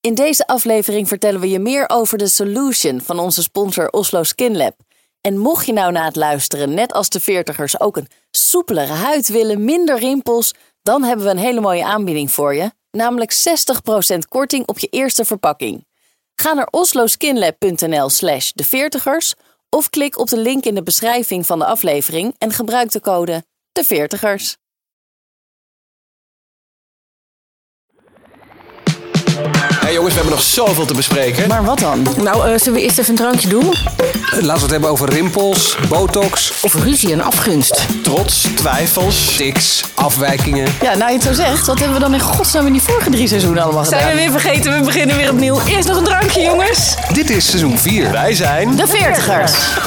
In deze aflevering vertellen we je meer over de Solution van onze sponsor Oslo Skin Lab. En mocht je nou na het luisteren, net als de veertigers, ook een soepelere huid willen, minder rimpels, dan hebben we een hele mooie aanbieding voor je. Namelijk 60% korting op je eerste verpakking. Ga naar osloskinlab.nl slash de veertigers of klik op de link in de beschrijving van de aflevering en gebruik de code de veertigers. Hey jongens, we hebben nog zoveel te bespreken. Maar wat dan? Nou, eh, zullen we eerst even een drankje doen? Laten we het hebben over rimpels, botox, Of ruzie en afgunst. trots, twijfels, tics, afwijkingen. Ja, nou je het zo zegt, wat hebben we dan in godsnaam in die vorige drie seizoenen allemaal gedaan? Zijn we weer vergeten, we beginnen weer opnieuw. Eerst nog een Oh, drankje, jongens. Dit is seizoen 4. Wij zijn... De veertigers.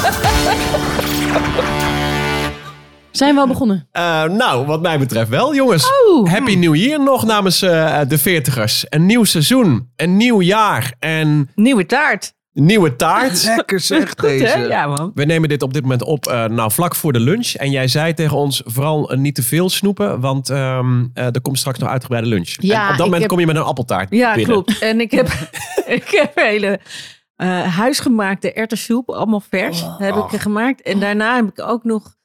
Zijn we al begonnen? Eh, nou, wat mij betreft wel, jongens. Oh. Happy New Year nog namens eh, de veertigers. Een nieuw seizoen, een nieuw jaar en Nieuwe taart. nieuwe taart. Lekker zeg Hè? deze. Ja, man. We nemen dit op dit moment op, eh, nou vlak voor de lunch. En jij zei tegen ons vooral eh, niet te veel snoepen, want ehm, eh, er komt straks nog uitgebreide lunch. Ja, en op ik dat moment heb- kom je met een appeltaart Ja, binnen. klopt. En ik heb, ik heb hele eh, huisgemaakte erwtensoep, allemaal vers, heb ik gemaakt. En daarna heb ik ook nog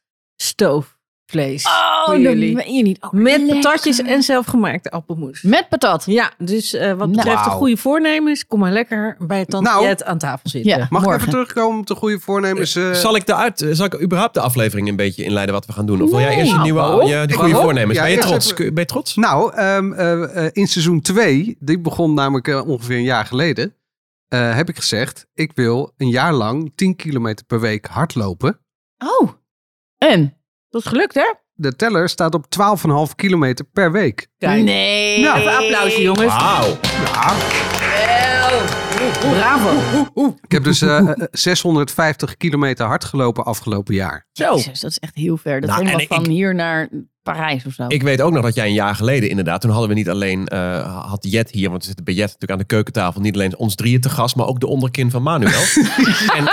stoofvlees voor Oh, jullie. Oh, meen je niet. Met patatjes en zelfgemaakte appelmoes. Met patat. Ja, dus eh, wat betreft de Wauw. goede voornemens, kom maar lekker bij Tante Nou. Jet aan tafel zitten. Ja, Mag ik morgen. even terugkomen op de goede voornemens? eh? Zal ik, de uit, zal ik überhaupt de aflevering een beetje inleiden wat we gaan doen? Of wil jij eerst je Nee. nieuwe, je, die goede Waarom? voornemens? Ja, ben je eerst trots? even- Kun je- Ben je trots? Nou, ehm, eh, eh, in seizoen 2, die begon namelijk eh, ongeveer een jaar geleden, eh, heb ik gezegd, ik wil een jaar lang 10 kilometer per week hardlopen. Oh. En? Dat is gelukt, hè? De teller staat op 12,5 kilometer per week. Kijk. Nee. Nou, Even een applausje, jongens. Wauw. Bravo. Ik heb dus eh, eh, 650 kilometer hard gelopen afgelopen jaar. Zo. Jezus, dat is echt heel ver. Dat Nou, is helemaal en ik- van hier naar Parijs of zo. Ik weet ook nog dat jij een jaar geleden inderdaad, toen hadden we niet alleen, eh, had Jet hier, want we zitten bij Jet natuurlijk aan de keukentafel, niet alleen ons drieën te gast, maar ook de onderkin van Manuel. en,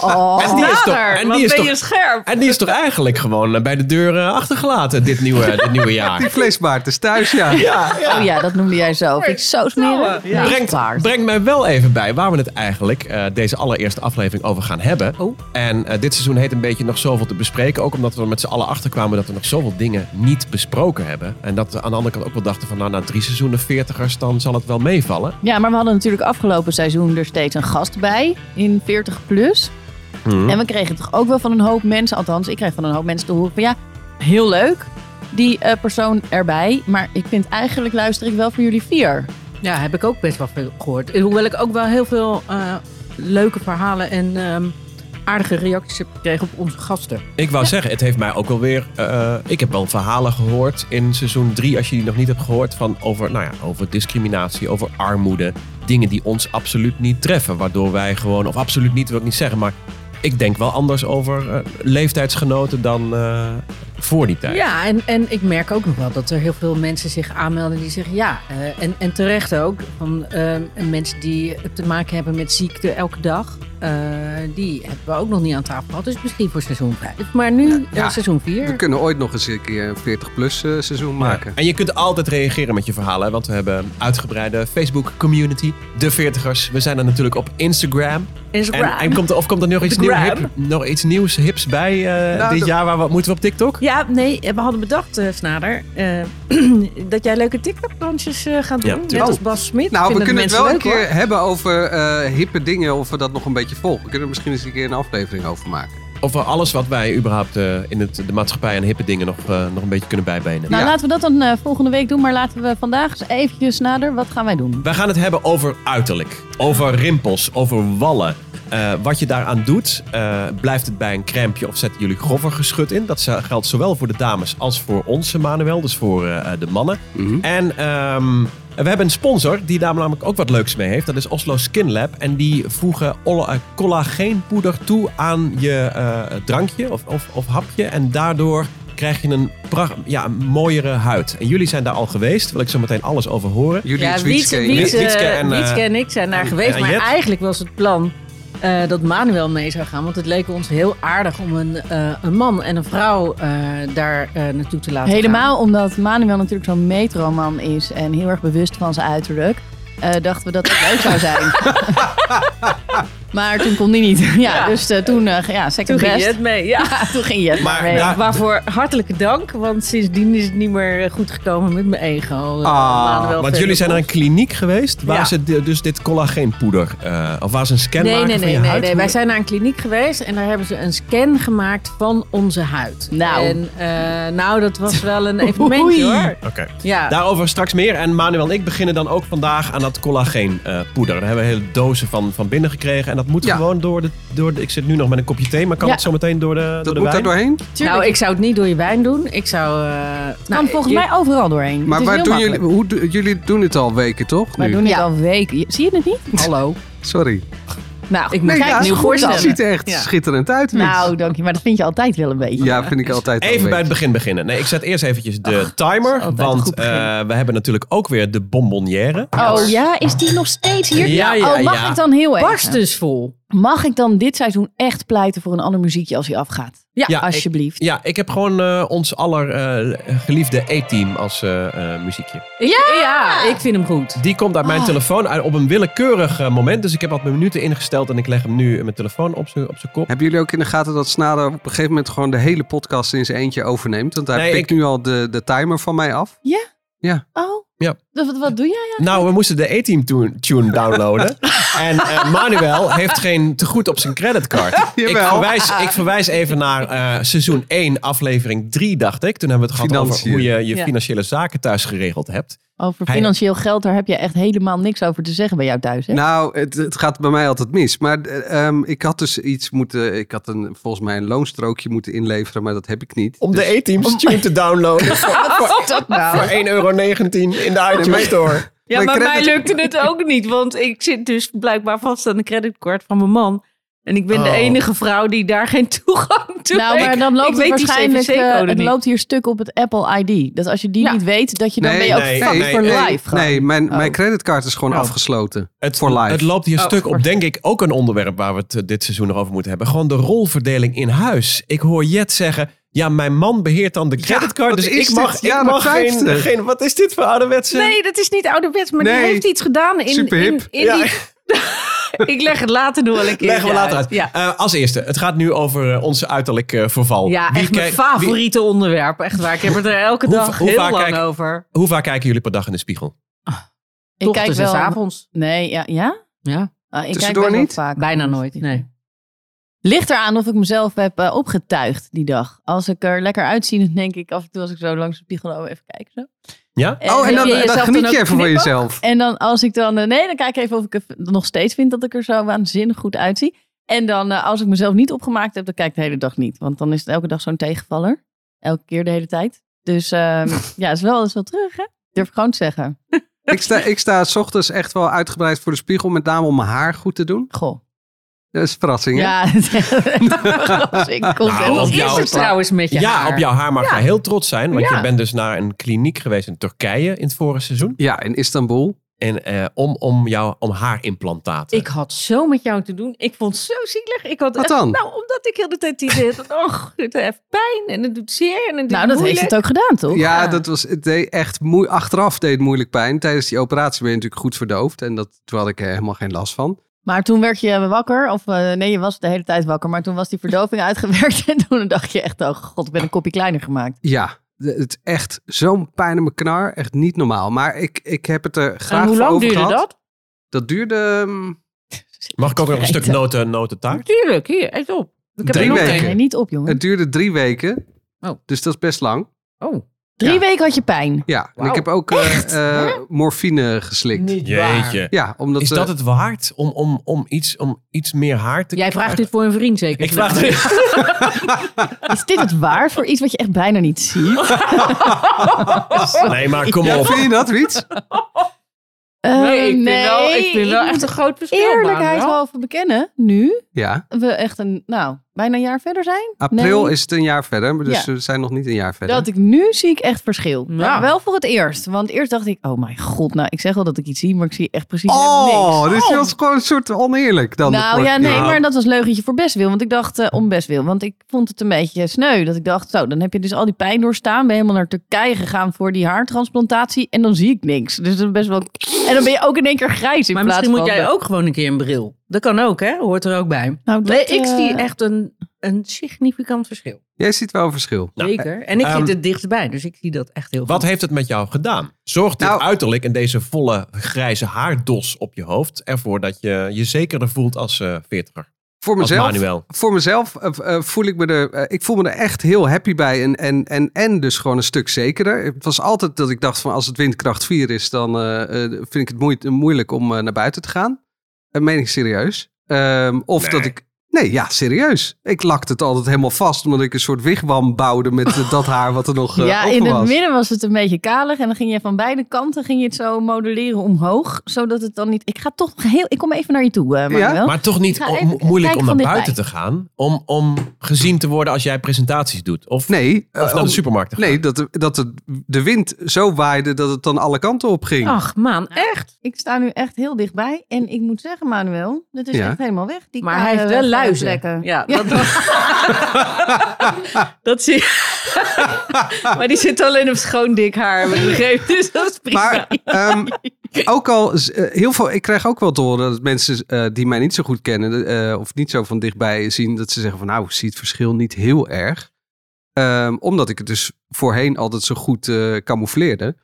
Oh. en die is toch, en Oh, Wat die is ben toch, je scherp. en die is toch eigenlijk gewoon eh, bij de deur eh, achtergelaten dit nieuwe, dit nieuwe Die jaar. vleesbaard is thuis, ja. Ja, ja. Oh ja, dat noemde jij zo. Vind ik zo smerig. Ja. Nee, Brengt, paard. brengt mij wel even bij waar we het eigenlijk eh, deze allereerste aflevering over gaan hebben. Oh. En eh, dit seizoen heet een beetje nog zoveel te bespreken. Ook omdat we er met z'n allen achterkwamen dat we nog zoveel dingen niet besproken hebben. En dat we aan de andere kant ook wel dachten van nou na drie seizoenen veertigers dan zal het wel meevallen. Ja, maar we hadden natuurlijk afgelopen seizoen er steeds een gast bij in 40 plus. En we kregen toch ook wel van een hoop mensen, althans ik kreeg van een hoop mensen te horen van ja, heel leuk die eh, persoon erbij, maar ik vind eigenlijk luister ik wel voor jullie vier. Ja, heb ik ook best wel veel gehoord. Hoewel ik ook wel heel veel eh, leuke verhalen en ehm, aardige reacties heb gekregen op onze gasten. Ik wou zeggen, het heeft mij ook wel weer. eh, ik heb wel verhalen gehoord in seizoen 3, als je die nog niet hebt gehoord, van over, nou ja, over discriminatie, over armoede. Dingen die ons absoluut niet treffen. Waardoor wij gewoon, of absoluut niet wil ik niet zeggen, maar ik denk wel anders over eh, leeftijdsgenoten dan eh, voor die tijd. Ja, en, en ik merk ook nog wel dat er heel veel mensen zich aanmelden die zeggen ja. eh, en, en terecht ook. Van ehm, en mensen die te maken hebben met ziekte elke dag. eh, die hebben we ook nog niet aan tafel gehad. Dus misschien voor seizoen 5. Maar nu eh, ja. seizoen We 4. kunnen ooit nog eens een keer een 40-plus eh, seizoen Ja. maken. En je kunt altijd reageren met je verhalen, hè, want we hebben een uitgebreide Facebook-community, de Veertigers. We zijn er natuurlijk op Instagram. En, en komt er, of komt er nog iets, nieuw, gram. hip- nog iets nieuws, hips bij eh, Nou, dit dat- jaar? Waar we, moeten we op TikTok? Ja, nee, we hadden bedacht, eh, Snader, eh, dat jij leuke TikTok-dansjes eh, gaat Ja, doen. net tuurlijk. als Bas Smit. Nou, we Vinden kunnen het mensen wel een leuk, keer hebben over eh, hippe dingen, of we dat nog een beetje volgen. We kunnen er misschien eens een keer een aflevering over maken. Over alles wat wij überhaupt eh, in het, de maatschappij en hippe dingen nog, eh, nog een beetje kunnen bijbenen. Nou, Ja. laten we dat dan eh, volgende week doen, maar laten we vandaag eens eventjes nader. Wat gaan wij doen? Wij gaan het hebben over uiterlijk, over rimpels, over wallen. Eh, wat je daaraan doet, eh, blijft het bij een crampje of zetten jullie grover geschut in? Dat z- geldt zowel voor de dames als voor onze Manuel, dus voor eh, eh, de mannen. En ehm, we hebben een sponsor die daar namelijk ook wat leuks mee heeft. Dat is Oslo Skin Lab. En die voegen olle- eh, collageenpoeder toe aan je eh, drankje of, of, of hapje. En daardoor krijg je een, pracht, ja, een mooiere huid. En jullie zijn daar al geweest. Wil ik zo meteen alles over horen. Jullie Ja, en Wietse, Wietske, Wietse, Wietske en, eh, Wietske en ik zijn daar geweest. en maar Jet. eigenlijk was het plan eh, dat Manuel mee zou gaan. Want het leek ons heel aardig om een, eh, een man en een vrouw eh, daar eh, naartoe te laten gaan. Helemaal omdat Manuel natuurlijk zo'n metroman is en heel erg bewust van zijn uiterlijk. eh, dachten we dat het leuk zou zijn. maar toen kon die niet. Ja, Ja. dus eh, toen, eh, ja, second Toen ging je best. het mee, ja. toen ging je het maar eh, Maar mee. daar- Waarvoor hartelijke dank, want sindsdien is het niet meer eh, goed gekomen met mijn ego. eh, Ah, Manuel Want Verder. jullie zijn naar een kliniek geweest waar Ja. ze di- dus dit collageenpoeder, eh, of waar ze een scan Nee, maken nee, van nee, je nee, huid. nee. Wij zijn naar een kliniek geweest en daar hebben ze een scan gemaakt van onze huid. Nou. En, eh, nou, dat was wel een evenementje Oei. hoor. Oké. Ja. Daarover straks meer. En Manuel en ik beginnen dan ook vandaag aan dat collageenpoeder. poeder. Daar hebben we hele dozen van, van binnen gekregen. En dat moet Ja. gewoon door de, door de... Ik zit nu nog met een kopje thee, maar kan Ja. het zo meteen door de, door Dat de moet daar wijn? doorheen. Tuurlijk. Nou, ik zou het niet door je wijn doen. Ik zou... eh nou, kan volgens je- mij overal doorheen. Maar het is waar heel doen jullie, makkelijk. hoe, do- jullie doen het al weken, toch? Wij Nu? doen dit Ja. al weken. Je- Zie je het niet? Hallo. Sorry. Nou, Ik ik moet kijk, ja, nu goed goed dan. Het dan. ziet er echt Ja. schitterend uit. Mits. Nou, dank je. Maar dat vind je altijd wel een beetje. ja, vind ik altijd al Even bij het leuk. begin beginnen. Nee, ik zet eerst eventjes de timer. altijd een want goed begin. eh, we hebben natuurlijk ook weer de bonbonnière. Oh ja, is die nog steeds hier? Ja, ja, oh, mag ja. ik dan heel even? Barst dus vol. Mag ik dan dit seizoen echt pleiten voor een ander muziekje als hij afgaat? Ja, ik, Alsjeblieft. ja, ik heb gewoon eh, ons aller eh, geliefde E-team als eh, eh, muziekje. Ja! ik vind hem goed. Die komt uit mijn telefoon uit, op een willekeurig eh, moment. Dus ik heb wat mijn minuten ingesteld en ik leg hem nu in mijn telefoon op zijn op zijn kop. Hebben jullie ook in de gaten dat Snader op een gegeven moment gewoon de hele podcast in zijn eentje overneemt? Want hij Nee, pikt ik- nu al de, de timer van mij af. Oh. Ja. Dus wat, wat doe jij? Nou, we moesten de A-team tune- tune downloaden. en eh, Manuel heeft geen tegoed op zijn creditcard. ik, Jawel. verwijs, ik verwijs even naar eh, seizoen 1, aflevering 3, dacht ik. Toen hebben we het gehad Financiën. over hoe je je Ja. financiële zaken thuis geregeld hebt. Over Hij- financieel geld, daar heb je echt helemaal niks over te zeggen bij jou thuis. Hè? Nou, het, het gaat bij mij altijd mis. Maar eh, ehm, ik had dus iets moeten. Ik had een, volgens mij een loonstrookje moeten inleveren, maar dat heb ik niet. Om Dus- de A-team's tune te downloaden voor, voor 1,19 euro in de iTunes Store. Ja, Mijn maar mij credit- lukte het ook niet, want ik zit dus blijkbaar vast aan de creditcard van mijn man. En ik ben de Oh. enige vrouw die daar geen toegang toe Nou, heeft. maar dan ik loopt het weet die waarschijnlijk CVC-code eh, het niet. loopt hier stuk op het Apple ID. Dat als je die Ja. niet weet, dat je dan Nee, ben je ook nee, fucked nee, for nee, life. gewoon. Nee, mijn, mijn creditcard is gewoon Oh. afgesloten. Het, For life. het loopt hier Oh, stuk op, denk ik, ook een onderwerp waar we het eh, dit seizoen nog over moeten hebben. Gewoon de rolverdeling in huis. Ik hoor Jet zeggen, ja, mijn man beheert dan de creditcard, wat dus is ik mag, dit? Ja, ik de mag geen, vijfde. geen... Wat is dit voor ouderwetse... Nee, dat is niet ouderwets, maar die Nee. heeft iets gedaan in, Superhip. in, in Ja. die... ik leg het later nog wel een keer Leggen we later uit. Ja, Eh, als eerste, het gaat nu over eh, onze uiterlijk eh, verval. ja Wie echt mijn kijk- wie- favoriete onderwerp. Echt waar, ik heb het er elke Hoe- dag hoe heel vaak lang kijk- over. hoe vaak kijken jullie per dag in de spiegel? ik kijk Ochtends en wel. avonds. Nee, ja, ja? Ja, Ah, ik kijk Tussendoor best wel niet? vaak. bijna nooit. Nee. Ligt eraan of ik mezelf heb eh, opgetuigd die dag. Als ik er lekker uitzie, dan denk ik af en toe als ik zo langs de spiegel loop, even kijken. Zo. Ja? oh, en heb dan, je dan jezelf geniet dan je ook even van knipoog? jezelf. En dan als ik dan... eh, Nee, dan kijk ik even of ik er nog steeds vind dat ik er zo waanzinnig goed uitzie. En dan eh, als ik mezelf niet opgemaakt heb, dan kijk ik de hele dag niet. Want dan is het elke dag zo'n tegenvaller. Elke keer de hele tijd. Dus ehm, ja, het is wel, het is wel terug, hè? Durf ik gewoon te zeggen. Ik sta, ik sta 's ochtends echt wel uitgebreid voor de spiegel, met name om mijn haar goed te doen. Goh. Dat is verrassing, hè? Ja, als ik kom Nou, wel op Hoe eens- jou- is het trouwens met je ja, haar? op jouw haar mag je heel trots zijn. Want Ja. je bent dus naar een kliniek geweest in Turkije in het vorige seizoen. Ja, in Istanbul. En eh, om, om, jou, om haarimplantaten. Ik had zo met jou te doen. Ik vond het zo zielig. Ik had Wat echt- dan? Nou, omdat ik heel de tijd die zit. Och, het heeft pijn en het doet zeer en het doet Nou, dat heeft moeilijk. het ook gedaan, toch? Ja, dat was, het deed echt moe, achteraf deed het moeilijk pijn. Tijdens die operatie ben je natuurlijk goed verdoofd. En dat, toen had ik er helemaal geen last van. Maar toen werd je wakker, of eh, nee, je was de hele tijd wakker, maar toen was die verdoving uitgewerkt en toen dacht je echt, oh god, ik ben een kopje kleiner gemaakt. Ja, de- het is echt zo'n pijn in mijn knar. Echt niet normaal. Maar ik, ik heb het er graag En hoe voor lang over duurde gehad. dat? Dat duurde ehm, Mag ik ook nog een stuk noten, notentaart? Natuurlijk, hier, echt op. Ik heb Drie er nog weken. een. Nee, niet op, jongen. Het duurde drie weken. Oh. Dus dat is best lang. Oh, Drie Ja. weken had je pijn. Ja, en ik heb ook eh, eh, morfine geslikt. Jeetje. Ja, omdat Is eh, dat het waard om, om, om, iets, om iets meer haar te jij vraagt dit voor een vriend zeker? Ik vraag het. Is dit het waard voor iets wat je echt bijna niet ziet? Nee, maar kom Ja, op. vind je dat, Wiets? Eh, Oh, Nee, ik vind wel, ik nee, vind wel ik echt moet een groot verschil. eerlijkheidshalve bekennen, nu Ja. we echt een, nou, bijna een jaar verder zijn. April Nee. is het een jaar verder, maar dus Ja. we zijn nog niet een jaar verder. Dat ik nu zie ik echt verschil. Ja. Maar wel voor het eerst. Want eerst dacht ik, oh mijn god, nou ik zeg wel dat ik iets zie, maar ik zie echt precies helemaal Oh, niks. dit is wel gewoon een soort oneerlijk dan. de nou vorige ja, nee, keer. maar dat was leugentje voor bestwil. Want ik dacht eh, om bestwil. Want ik vond het een beetje sneu. Dat ik dacht, zo, dan heb je dus al die pijn doorstaan. Ben helemaal naar Turkije gegaan voor die haartransplantatie. En dan zie ik niks. Dus dat is best wel... En dan ben je ook in één keer grijs in Maar plaats misschien moet van... jij ook gewoon een keer een bril. Dat kan ook, hè? Hoort er ook bij. Nou, dat, Nee, ik eh, zie echt een, een significant verschil. Jij ziet wel een verschil. Nou, Zeker. En ik ehm, zit er dichtstbij, dus ik zie dat echt heel Wat goed. heeft het met jou gedaan? Zorgt dit Nou- uiterlijk en deze volle grijze haardos op je hoofd ervoor dat je je zekerder voelt als eh veertiger? Voor Als mezelf, Manuel. voor mezelf eh, eh, voel ik me er, eh, ik voel me er echt heel happy bij en, en, en, en dus gewoon een stuk zekerder. Het was altijd dat ik dacht van als het windkracht 4 is, dan eh, eh, vind ik het moe- moeilijk om eh, naar buiten te gaan. Dat meen ik serieus. Ehm, of Nee. dat ik, nee ja, serieus. Ik lakte het altijd helemaal vast omdat ik een soort wigwam bouwde met eh, dat haar wat er nog eh, Ja, over in het was. midden was het een beetje kalig. En dan ging je van beide kanten ging je het zo modelleren omhoog. Zodat het dan niet... Ik ga toch nog heel... Ik kom even naar je toe, eh Manuel. Maar toch niet ga om- even kijken moeilijk van om naar dichtbij. buiten te gaan, om, om gezien te worden als jij presentaties doet. Of, Nee, eh, of naar de om- supermarkt te gaan. nee dat, de- dat het- de wind zo waaide dat het dan alle kanten op Oh, ging. Ach man, echt? Ik sta nu echt heel dichtbij. En ik moet zeggen, Manuel, dat is Ja. echt helemaal weg. Die Maar kale hij heeft wel vlekken. luizen. Ja, dat, dat zie je. maar die zit alleen op schoon dik haar, heb ik begrepen. Dus dat is prima. Maar ehm, ook al z- eh, heel veel, ik krijg ook wel te horen dat mensen eh, die mij niet zo goed kennen eh, of niet zo van dichtbij zien, dat ze zeggen van nou, ik zie het verschil niet heel erg. Ehm, omdat ik het dus voorheen altijd zo goed eh camoufleerde.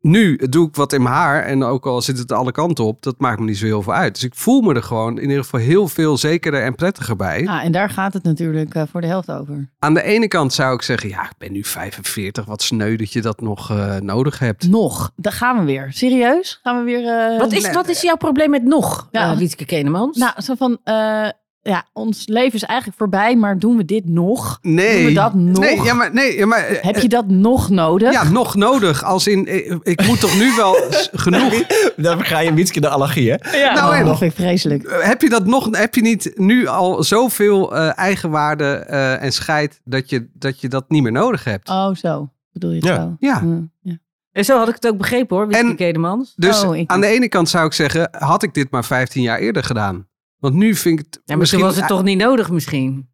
Nu doe ik wat in mijn haar en ook al zit het alle kanten op, dat maakt me niet zo heel veel uit. Dus ik voel me er gewoon in ieder geval heel veel zekerder en prettiger bij. Ah, en daar gaat het natuurlijk eh, voor de helft over. Aan de ene kant zou ik zeggen, ja, ik ben nu 45, wat sneu dat je dat nog eh, nodig hebt. Nog, daar gaan we weer. Serieus? Gaan we weer... eh, wat, is, wat is jouw probleem met nog, Ja. ja. Wietke Kenemans? Nou, zo van... eh, ja, ons leven is eigenlijk voorbij, maar doen we dit nog? Nee. Doen we dat nog? Nee, ja, maar, nee, ja, maar eh, Heb je dat nog nodig? Ja, nog nodig. Als in, eh, ik moet toch nu wel s- genoeg. Dan ga je een beetje de allergie, hè? Nou, oh, en- dat vind ik vreselijk. Eh, Heb je dat nog? Heb je niet nu al zoveel eh, eigenwaarde eh, en scheid dat je, dat je dat niet meer nodig hebt? Oh, zo. Bedoel je het Ja. zo? Oh, Ja. Hm, ja. En zo had ik het ook begrepen hoor, Wietke En- Kenemans. Dus Oh, ik- aan de ene kant zou ik zeggen, had ik dit maar 15 jaar eerder gedaan. Want nu vind ik het Ja, maar toen misschien was het toch niet nodig misschien?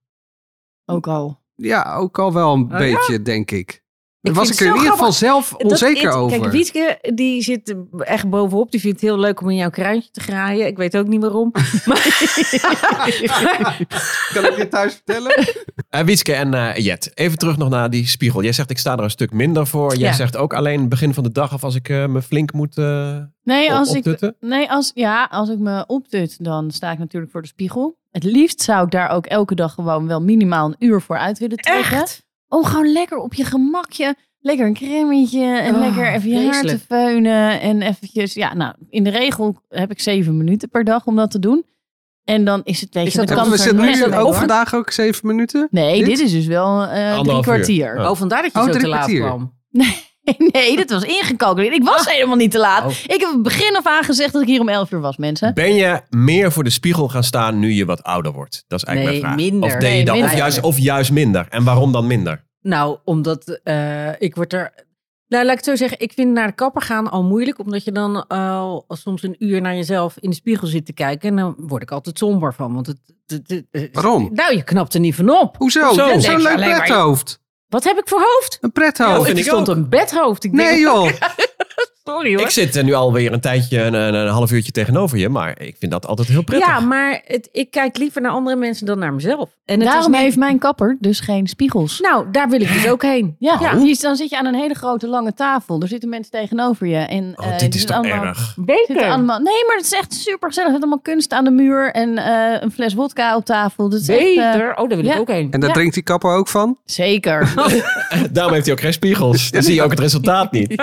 Ook al. ja, ook al wel een Oh, ja? beetje, denk ik. Daar was vind ik er in het zo ieder geval zelf Dat onzeker is- over. Kijk, Wietke, die zit echt bovenop. Die vindt het heel leuk om in jouw kruintje te graaien. Ik weet ook niet waarom. maar, Kan ik dit thuis vertellen? Eh, Wietske en eh, Jet, even terug nog naar die spiegel. Jij zegt, ik sta er een stuk minder voor. Jij Ja. zegt ook alleen begin van de dag of als ik eh, me flink moet eh Nee, als op- ik optutten. Nee, als, ja, als ik me optut, dan sta ik natuurlijk voor de spiegel. Het liefst zou ik daar ook elke dag gewoon wel minimaal een uur voor uit willen trekken. Echt? Oh, gewoon lekker op je gemakje. Lekker een cremmetje en Oh, lekker even je haar te vreselijk. feunen. En eventjes, ja, nou, in de regel heb ik zeven minuten per dag om dat te doen. En dan is het, weet Is je, dat dan ook- kan we het er zitten niks nu mee, ook hoor. vandaag ook zeven minuten. Nee, Dit? dit is dus wel eh, drie Anderhalf uur. kwartier. Oh. oh, vandaar dat je Oh, zo drie te laat kwartier. kwam. Nee, dat was ingecalculeerd. Ik was helemaal niet te laat. Oh. Ik heb het begin af aan gezegd dat ik hier om elf uur was, mensen. Ben je meer voor de spiegel gaan staan nu je wat ouder wordt? Dat is eigenlijk Nee, mijn vraag. minder. Of deed je Nee, dat? Of minder. juist, of juist minder? En waarom dan minder? Nou, omdat eh, ik word er... Nou, laat ik het zo zeggen. Ik vind naar de kapper gaan al moeilijk. Omdat je dan al soms een uur naar jezelf in de spiegel zit te kijken. En dan word ik altijd somber van. Want het, het, het- het- Waarom? Nou, je knapt er niet van op. Hoezo? Zo. Zo'n Denk je leuk alleen maar- prethoofd. Wat heb ik voor hoofd? Een prethoofd. Oh, vind ik ik stond ook. een bedhoofd. Ik Nee denk, joh. sorry hoor. Ik zit er nu alweer een tijdje, een, een, een half uurtje tegenover je. Maar ik vind dat altijd heel prettig. Ja, maar het, ik kijk liever naar andere mensen dan naar mezelf. En het Daarom is net- heeft mijn kapper dus geen spiegels. Nou, daar wil ik dus ook heen. Ja, Oh. die is- dan zit je aan een hele grote lange tafel. Er zitten mensen tegenover je. En, Oh, eh, er dit is zitten toch allemaal, erg? zitten allemaal- nee, maar het is echt super gezellig. Er zit allemaal kunst aan de muur en eh, een fles wodka op tafel. Dat is echt, eh, Beter. Oh, daar wil ja. ik ook heen. En daar Ja. drinkt die kapper ook van? zeker. Eh, Daarom heeft hij ook geen spiegels. Dan zie je ook het resultaat niet.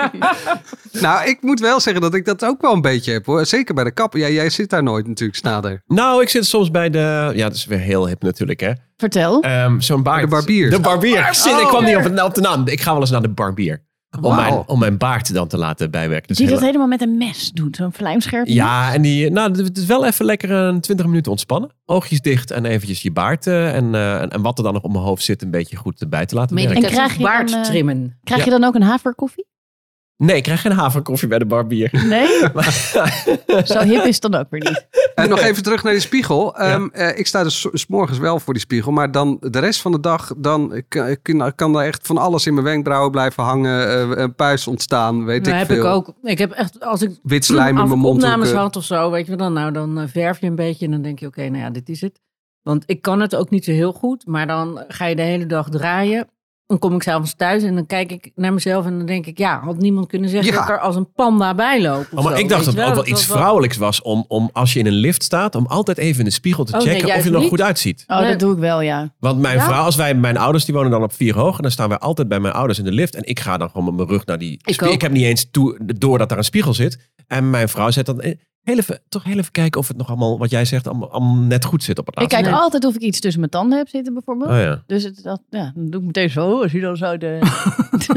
Nou, ik moet wel zeggen dat ik dat ook wel een beetje heb hoor. Zeker bij de kapper. Ja, jij zit daar nooit natuurlijk, Snader. Nou, ik zit soms bij de... Ja, dat is weer heel hip natuurlijk, hè. Vertel. Ehm, Zo'n baard. De barbier. De barbier. Zit, Ah, ik kwam Oh. niet op, op de naam. Ik ga wel eens naar de barbier. Om, Wauw. mijn, om mijn baard dan te laten bijwerken. Dus Die dat heel- helemaal met een mes doet. Zo'n vlijmscherp. ja, en die, nou, het is wel even lekker een 20 minuten ontspannen. Oogjes dicht en eventjes je baard eh, en, eh, en, en wat er dan nog om mijn hoofd zit een beetje goed bij te laten werken. En krijg je baard dan, eh, trimmen. Krijg je dan ook een haverkoffie? Nee, ik krijg geen haverkoffie bij de barbier. Nee? Maar- Zo hip is het dan ook weer niet. En Eh, nog even terug naar die spiegel. Ehm, eh, ik sta dus s- s morgens wel voor die spiegel, maar dan de rest van de dag dan eh, kan, kan, kan er echt van alles in mijn wenkbrauwen blijven hangen, eh, een puist ontstaan, weet Nou, ik heb veel. ik ook. Ik heb echt, als ik Wit slijm in Hm, af- mijn opnames mondhoeken. had of zo, weet je wel, dan, nou, dan eh, verf je een beetje en dan denk je, oké, nou ja, dit is het. Want ik kan het ook niet zo heel goed, maar dan ga je de hele dag draaien. Dan kom ik s'avonds thuis en dan kijk ik naar mezelf en dan denk ik, ja, had niemand kunnen zeggen Ja. dat ik er als een panda bij loop. of Oh, maar zo, ik dacht dat weet je het ook wel iets was vrouwelijks was om, om als je in een lift staat, om altijd even in de spiegel te Oh, nee, checken of juist je er nog niet. goed uitziet. Oh, Nee. dat doe ik wel, ja. Want mijn Ja? vrouw, als wij, mijn ouders die wonen dan op vier hoog, en dan staan wij altijd bij mijn ouders in de lift. En ik ga dan gewoon met mijn rug naar die Ik spiegel. ook. Ik heb niet eens toe, door dat daar een spiegel zit. En mijn vrouw zegt dan, eh, heel even, toch heel even kijken of het nog allemaal, wat jij zegt, allemaal, allemaal net goed zit op het Ik laatste. kijk Nee. altijd of ik iets tussen mijn tanden heb zitten, bijvoorbeeld. Oh, ja. Dus het, dat, ja, dan doe ik meteen zo. Als je dan zo de,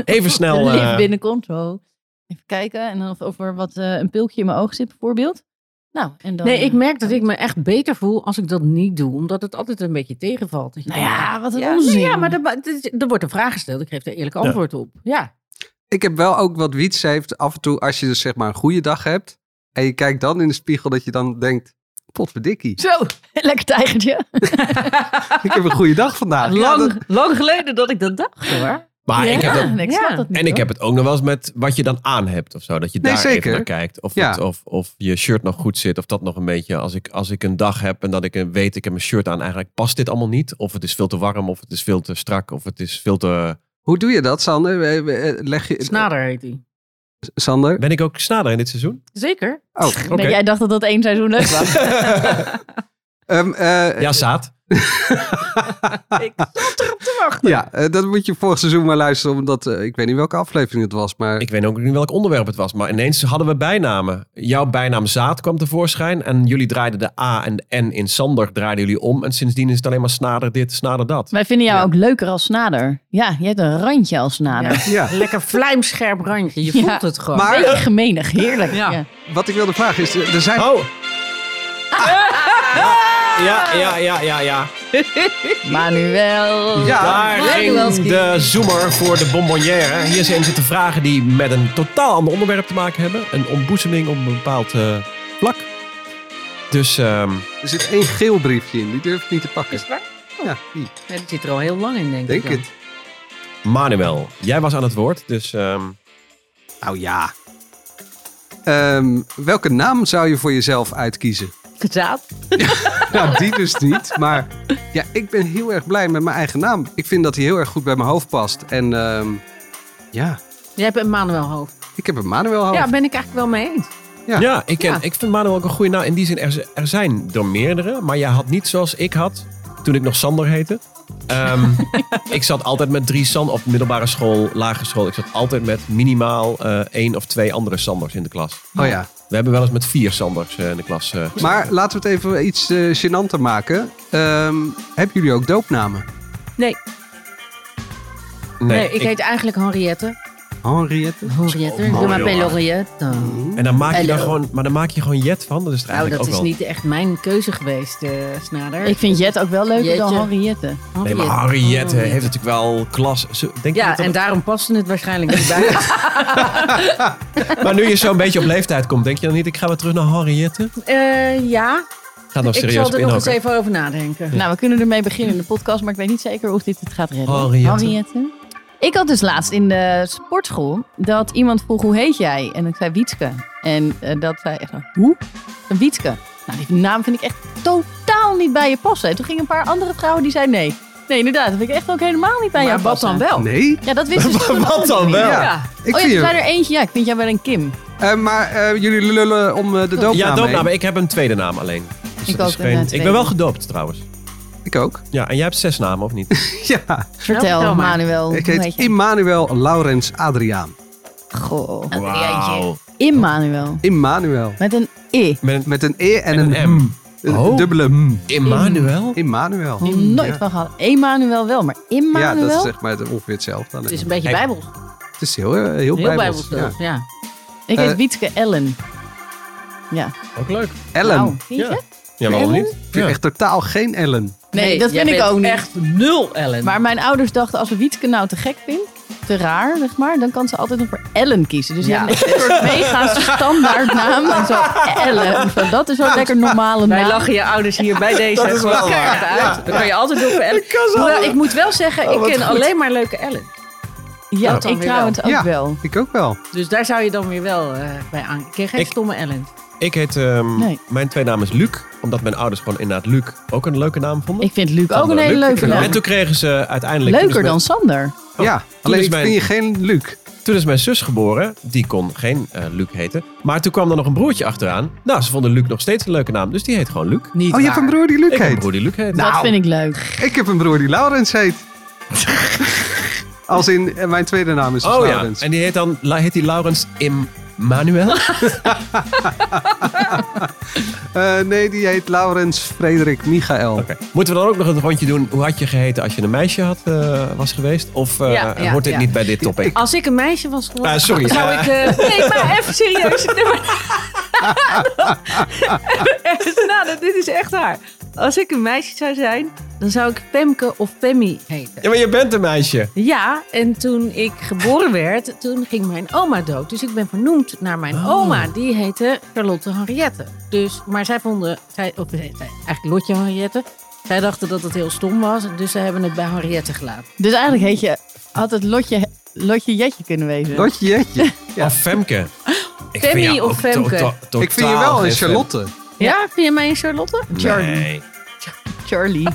Even snel. de eh, lift binnenkomt, zo. Even kijken. En dan of, of er wat, eh, een pilkje in mijn oog zit, bijvoorbeeld. Nou, en dan... Nee, ik merk dat ik me echt beter voel als ik dat niet doe, omdat het altijd een beetje tegenvalt. Dat je Nou denkt, "Ah, ja, wat een ja, onzin. ja, maar er, het is- er wordt een vraag gesteld, ik geef er eerlijk antwoord op. Ja, Ik heb wel ook wat Wiets heeft af en toe als je dus zeg maar een goede dag hebt en je kijkt dan in de spiegel dat je dan denkt, potverdikkie, Zo, lekker tijgertje. ik heb een goede dag vandaag. Ja, lang, dat- lang geleden dat ik dat dacht hoor. maar ik heb dat, Ja, ik snap Ja. dat niet, en ik hoor. heb het ook nog wel eens met wat je dan aan hebt of zo. Dat je Nee, daar even zeker. naar kijkt. Of, Ja. het- of, of je shirt nog goed zit. Of dat nog een beetje. Als ik, als ik een dag heb en dat ik een- weet ik heb mijn shirt aan. Eigenlijk past dit allemaal niet. Of het is veel te warm. Of het is veel te strak. Of het is veel te... Hoe doe je dat, Sander? Eh, eh, Leg je, Snader heet hij. Sander? Ben ik ook snader in dit seizoen? Zeker. Oh, oké. Nee, jij dacht dat dat één seizoen leuk was. Ehm, eh, Ja, zaad. Ja, eh, dat moet je vorig seizoen maar luisteren, omdat eh, ik weet niet welke aflevering het was, maar Ik weet ook niet welk onderwerp het was. Maar ineens hadden we bijnamen. Jouw bijnaam zaad kwam tevoorschijn. En jullie draaiden de A en de N in Sander. Draaiden jullie om. En sindsdien is het alleen maar snader dit, snader dat. Wij vinden jou ook leuker als snader. Ja, je hebt een randje als snader. Ja. ja. Lekker vlijmscherp randje. Je Ja. voelt het gewoon. Maar- Maar, Beetje gemenig, heerlijk. Ja. Ja. Wat ik wilde vragen is, eh, er zijn... Oh! Ja, ja, ja, ja, ja. Manuel. Ja. Daar lekker wel, ging Ski. de zoomer voor de bonbonnière. Hier zijn zitten vragen die met een totaal ander onderwerp te maken hebben. Een ontboezeming op een bepaald eh, vlak. Dus ehm, Er zit één geel briefje in, die durf ik niet te pakken. Is het waar? Ja, die, Ja, die zit er al heel lang in, denk, denk ik. dan. het. Manuel, jij was aan het woord. Dus ehm, Nou ja. Ehm, welke naam zou je voor jezelf uitkiezen? Zaad. Nou, die dus niet. Maar ja, ik ben heel erg blij met mijn eigen naam. Ik vind dat hij heel erg goed bij mijn hoofd past. En ehm, ja, Jij hebt een Manuel hoofd. Oh. ik heb een Manuel hoofd. Ja, ben ik eigenlijk wel mee eens. ja, Ja. ik, ken, Ja. ik vind Manuel ook een goede naam. In die zin, er, z- er zijn er meerdere. Maar jij had niet zoals ik had toen ik nog Sander heette. Ehm, ik zat altijd met drie San op middelbare school, lagere school. Ik zat altijd met minimaal eh, één of twee andere Sanders in de klas. Oh ja. We hebben wel eens met vier Sanders eh, in de klas. eh, gezeten. Maar laten we het even iets eh gênanter maken. Ehm, hebben jullie ook doopnamen? Nee, nee, ik, heet eigenlijk Henriette. Henriette? Henriette. Oh, Ik doe maar mooi, bij hoor. Henriette. En dan maak je dan Hallo. gewoon, maar dan maak je gewoon Jet van. Dat is het Nou, eigenlijk dat is ook wel. niet echt mijn keuze geweest, eh, Snader. Ik vind Jet ook wel leuker dan Jetje. Henriette. Nee, maar Harriet eh, heeft natuurlijk wel klas. Ze- Denk je Oh, Ja, dat dat- en daarom paste het waarschijnlijk niet bij. Maar nu je zo'n beetje op leeftijd komt, denk je dan niet, ik ga weer terug naar Henriette? Eh, ja, Ga nog ik serieus zal op er nog eens inhokken. even over nadenken. Nou, we kunnen ermee beginnen in de podcast, maar ik weet niet zeker of dit het gaat redden. Henriette. Ik had dus laatst in de sportschool dat iemand vroeg hoe heet jij? En ik zei Wietske. En eh, dat zei echt, hoe? Een Wietske. Nou, die naam vind ik echt totaal niet bij je passen. En toen gingen een paar andere vrouwen die zeiden nee. Nee, inderdaad, dat vind ik echt ook helemaal niet bij Maar jou wat passen. dan wel? Nee? Ja, dat wisten ze toen Wat ook dan niet. wel? Ja. Ja. Ik oh ja, zie er hem. zijn er eentje. Ja, ik vind jij wel een Kim. Eh, maar eh, jullie lullen om eh, de doopnaam Ja, doopnaam. heen. Ik heb een tweede naam alleen. Dus Ik dat is ook een, eh, Ik tweede. ben wel gedoopt trouwens. Ik ook. Ja, en jij hebt zes namen, of niet? Ja. Vertel, vertel maar. Oh, Manuel. Ik hoe heet heet je? Immanuel Laurens Adriaan. Goh. Wauw. Immanuel. Immanuel. Met een I. Met een Met een E en, En een een M. M. Een Oh. dubbele M. Emmanuel? Immanuel. Hier nooit Mm, Ja. van gehad. Emmanuel wel, maar Ja, Immanuel? dat is zeg maar ongeveer hetzelfde. Het alleen. is een beetje Kijk. bijbels. Het Het is heel, eh, heel, Heel bijbels. bijbels, ja. ja. ja. Ik heet Eh, Wietke Ellen. Ja. Ook leuk. Ellen. Nou, vind je? Ja. dus. Ja, waarom Ellen? niet? Ik vind echt totaal geen Ellen. Nee, dat jij vind ik bent ook niet. echt nul, Ellen. Maar mijn ouders dachten, als we Wietke nou te gek vindt, te raar, zeg maar, dan kan ze altijd nog voor Ellen kiezen. Dus Ja. ja, een soort mega standaard naam. En zo Ellen. Zo, dat is zo'n lekker normale Wij naam. lachen je ouders hier bij deze Dat is gewoon wel keihard waar. uit. Dan kan Oh, je altijd doen voor Ellen. Hoewel, ik moet wel zeggen, ik ken alleen maar leuke Ellen. Ja, Dat dan ik weer trouwens ook Ja. wel. Ik ook wel. Dus daar zou je dan weer wel eh, bij aan. Ik ken geen Ik- stomme Ellen. Ik heet... ehm, Nee. Mijn tweede naam is Luc. Omdat mijn ouders gewoon inderdaad Luc ook een leuke naam vonden. Ik vind Luc ook een Sander hele Luc. leuke naam. En toen kregen ze uiteindelijk... toen Leuker is dan Sander. Oh, ja, is alleen ik mijn- vind je geen Luc. mijn- Toen is mijn zus geboren. Die kon geen eh, Luc heten. Maar toen kwam er nog een broertje achteraan. Nou, ze vonden Luc nog steeds een leuke naam. Dus die heet gewoon Luc. Niet Oh, je hebt een broer die Luc Ik heb een heet. broer die Luc heet. Dat Nou. vind ik leuk. Ik heb een broer die Laurens heet. Als in, eh, mijn tweede naam is dus Oh ja, Laurens. en die heet dan la- heet die Laurens Immanuel? Eh, nee, die heet Laurens Frederik Michael. Oké. Moeten we dan ook nog een rondje doen? Hoe had je geheten als je een meisje had, eh, was geweest? Of eh, Ja, ja, hoort dit ja. niet bij dit topic? Als ik een meisje was geworden, Ah, sorry. zou Eh. ik... eh, nee, maar even serieus. Nee, maar- Even nadenken, Nou, dit is echt waar. Als ik een meisje zou zijn, dan zou ik Pemke of Pemmy heten. Ja, maar je bent een meisje. Ja, en toen ik geboren werd, toen ging mijn oma dood. Dus ik ben vernoemd naar mijn oma. Die heette Charlotte Henriette. Dus, maar zij vonden, zij, of, eh, zij, zij- eigenlijk Lotje Henriette. Zij dachten dat het heel stom was, dus ze hebben het bij Henriette gelaten. Dus eigenlijk heet je, had het Lotje, Lotje Jetje kunnen wezen. Lotje Jetje. Ja. Of Femke. Ik Femi vind jou of ook Femke? Ik vind je wel totaal een geen Charlotte. Ja, vind je mij een Charlotte? Fem. Charlie. Nee. Charlie.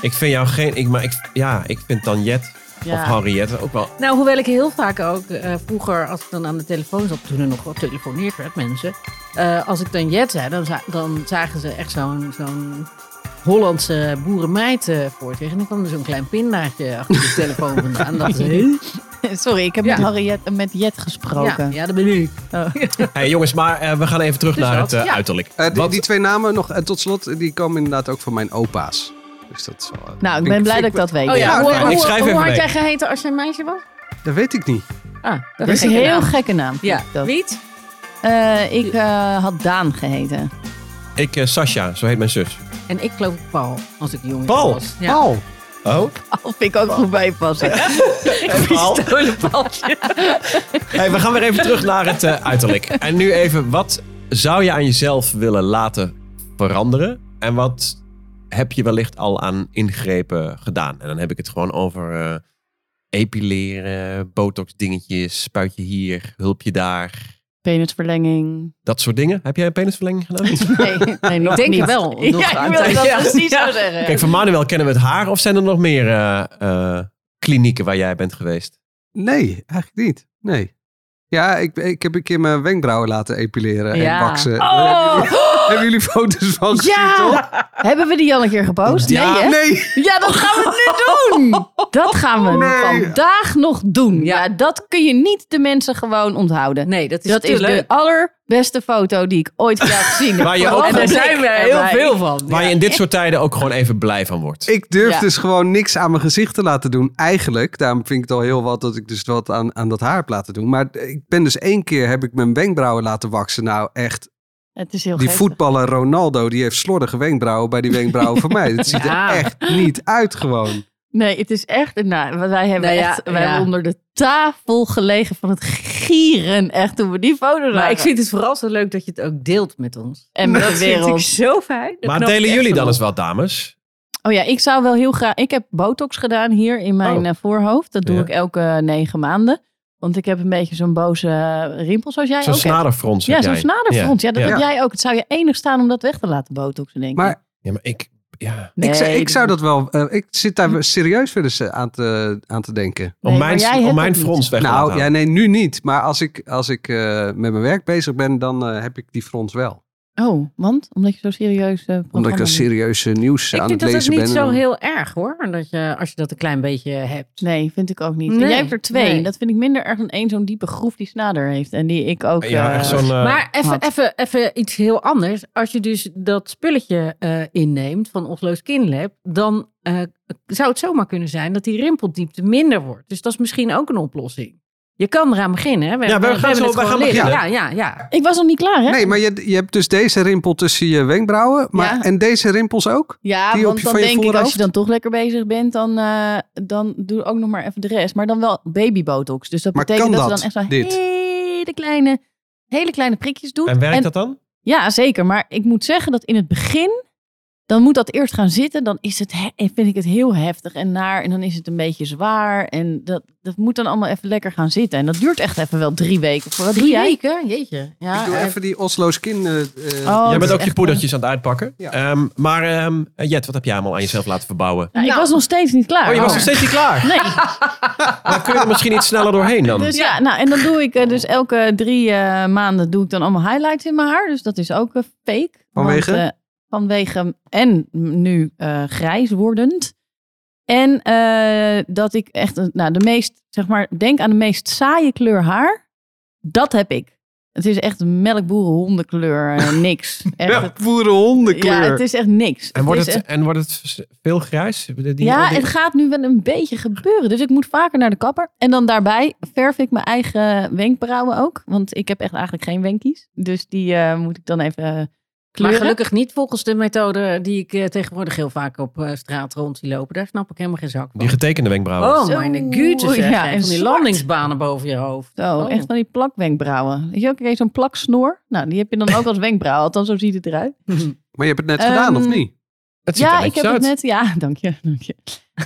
Ik vind jou geen... Ik, maar ik, ja, ik vind dan Jet of Ja. Henriette ook wel... Nou, hoewel ik heel vaak ook eh, vroeger, als ik dan aan de telefoon zat, toen er nog wat telefoneerd werd, mensen. eh, als ik dan Jet zei, dan, za- dan zagen ze echt zo'n zo'n Hollandse boerenmeid eh voor zich. En dan kwam er zo'n klein pindaatje achter de telefoon vandaan. Dat is heel... Sorry, ik heb Ja. met, Henriette, met Jet Ja, gesproken. ja, dat ben ik. Hey, jongens, maar eh, we gaan even terug Dus naar dat, het eh, ja. uiterlijk. Eh, die, Wat- die twee namen nog, eh, tot slot, die komen inderdaad ook van mijn opa's. Dus dat is wel, eh, Nou, ik vind ben blij dat vind ik dat weet. Oh ja, Ja, hoe, oké. hoe- Ik schrijf hoe even had mee. jij geheten als je een meisje was? Dat weet ik niet. Ah, Dat is een heel gekke naam. vind Ja, ik dat. wiet. Eh, ik eh, had Daan geheten. Ik, eh, Sasha, zo heet mijn zus. En ik geloof ik Paul, als ik jong Paul? was. Paul. Oh? Of ik ook goed bijpassen. Paul. Paul. Hey, we gaan weer even terug naar het eh, uiterlijk. En nu even, wat zou je aan jezelf willen laten veranderen? En wat heb je wellicht al aan ingrepen gedaan? En dan heb ik het gewoon over eh, epileren, botox dingetjes, spuitje hier, hulpje daar. Penisverlenging. Dat soort dingen. Heb jij een penisverlenging gedaan? Nee, nee nog Ik denk niet. het wel. Nog ja, aan ik wilde tijd. dat Ja. precies Ja. zo zeggen. Kijk, van Manuel kennen we het haar. Of zijn er nog meer eh, eh, klinieken waar jij bent geweest? Nee, eigenlijk niet. Nee. Ja, ik, ik heb een keer mijn wenkbrauwen laten epileren Ja. en waksen. Oh! Hebben jullie foto's van gezien, toch? Ja! Hebben we die al een keer gepost? Ja. Nee, hè? Nee. Ja, dat gaan we nu doen! Dat gaan we Nee. vandaag nog doen. Ja, dat kun je niet de mensen gewoon onthouden. Nee, dat is dat te is leuk. de allerbeste foto die ik ooit van jou gezien heb. Waar je ook en En daar van- zijn we heel veel van. Waar je in dit soort tijden ook gewoon even blij van wordt. Ik durf Ja. dus gewoon niks aan mijn gezicht te laten doen, eigenlijk. Daarom vind ik het al heel wat dat ik dus wat aan, aan dat haar heb laten doen. Maar ik ben dus één keer heb ik mijn wenkbrauwen laten waksen. Nou, echt. Het is heel Die geestig. voetballer Ronaldo, die heeft slordige wenkbrauwen bij die wenkbrauwen van mij. Het ziet Ja. er echt niet uit gewoon. Nee, het is echt... Nou, wij hebben Nou ja, echt wij ja. hebben onder de tafel gelegen van het gieren. Echt, toen we die foto zagen. Maar ik vind het vooral zo leuk dat je het ook deelt met ons. En met de wereld. zo fijn. Maar delen jullie dan eens wat, dames? Oh ja, ik zou wel heel graag. Ik heb botox gedaan hier in mijn Oh. eh, voorhoofd. Dat doe Ja. ik elke eh, negen maanden. Want ik heb een beetje zo'n boze eh, rimpel, zoals jij Zo'n ook hebt. snaderfrons. heb Ja, zo'n jij. snaderfront. Ja, dat Ja. heb jij ook. Het zou je enig staan om dat weg te laten botoxen, denk ik. Maar Ja, maar ik... Ja. Nee, ik, zou, ik dat- zou dat wel. eh, ik zit daar serieus weer eens eh, aan te, aan te denken. Nee, om maar jij mijn, hebt om dat mijn niet. frons weg te laten nou, ja, halen. nee, nu niet. Maar als ik, als ik eh, met mijn werk bezig ben, dan eh, heb ik die frons wel. Oh, want? Omdat je zo serieus. eh Omdat ik programma een doet. serieuze nieuws Ik aan vind het dat ook lezen niet ben. zo en dan- heel erg hoor. Dat je, als je dat een klein beetje hebt. Nee, vind ik ook niet. En Nee, jij hebt er twee. nee. Dat vind ik minder erg dan één zo'n diepe groef die snader heeft. En die ik ook. Ja, eh, echt zo'n... eh, maar even, had. even, even iets heel anders. Als je dus dat spulletje eh, inneemt van Oslo Skin Lab, dan eh, zou het zomaar kunnen zijn dat die rimpeldiepte minder wordt. Dus dat is misschien ook een oplossing. Je kan eraan beginnen. Hè? We, Ja, we gaan hebben zo- het we gewoon gaan liggen. beginnen. Ja, ja, ja. Ik was nog niet klaar, hè? Nee, maar je, je hebt dus deze rimpel tussen je wenkbrauwen. Maar, Ja. En deze rimpels ook? Ja, Die op want je- dan van je denk ik, als voorhoofd? je dan toch lekker bezig bent, dan, eh, dan doe ook nog maar even de rest. Maar dan wel baby botox. Dus dat Maar betekent kan dat, dat, we dan echt wel dit? hele kleine, hele kleine prikjes doen. En werkt dat dan? Ja, zeker. Maar ik moet zeggen dat in het begin, dan moet dat eerst gaan zitten. Dan is het, he- vind ik het heel heftig en naar. En dan is het een beetje zwaar. En dat, dat moet dan allemaal even lekker gaan zitten. En dat duurt echt even wel drie weken. Of Wat doe Drie jij? weken? Jeetje. Ja, ik doe eh, even die Oslo's kin. eh, eh, Oh, Jij dat bent is ook je echt- poedertjes aan het uitpakken. Ja. Ehm, maar ehm, Jet, wat heb jij allemaal aan jezelf laten verbouwen? Nou, Ik Nou. was nog steeds niet klaar. Oh, je was Maar- nog steeds niet klaar. Nee, Dan kun je er misschien iets sneller doorheen dan. Oh. dus ja, nou en dan doe ik eh, dus elke drie eh, maanden doe ik dan allemaal highlights in mijn haar. Dus dat is ook eh, fake. Want, Vanwege? eh, vanwege en nu eh, grijs wordend. En eh, dat ik echt, een- nou de meest, zeg maar, denk aan de meest saaie kleur haar. Dat heb ik. Het is echt melkboerenhondenkleur, eh, niks. Echt, ja, het- boerenhondenkleur. ja, het is echt niks. En wordt is het, echt- en wordt het veel grijs? Die- die- ja, het gaat nu wel een beetje gebeuren. Dus ik moet vaker naar de kapper. En dan daarbij verf ik mijn eigen wenkbrauwen ook. Want ik heb echt eigenlijk geen wenkies. Dus die eh, moet ik dan even eh, Maar kleuren. gelukkig niet volgens de methode die ik eh, tegenwoordig heel vaak op eh, straat rond zie lopen. Daar snap ik helemaal geen zak Die van. getekende wenkbrauwen. Oh, Zo. mijn gute zeg. Ja, en en van die zwart. landingsbanen boven je hoofd. Zo, Oh. echt van die plakwenkbrauwen. Weet je ook, kreeg zo'n plaksnoor. Nou, die heb je dan ook als wenkbrauw. Althans, zo ziet het eruit. Hm. Maar je hebt het net gedaan, of Ehm, niet? Het ziet er Ja, ik netjes heb het uit. net. Ja, dank je. Dank je.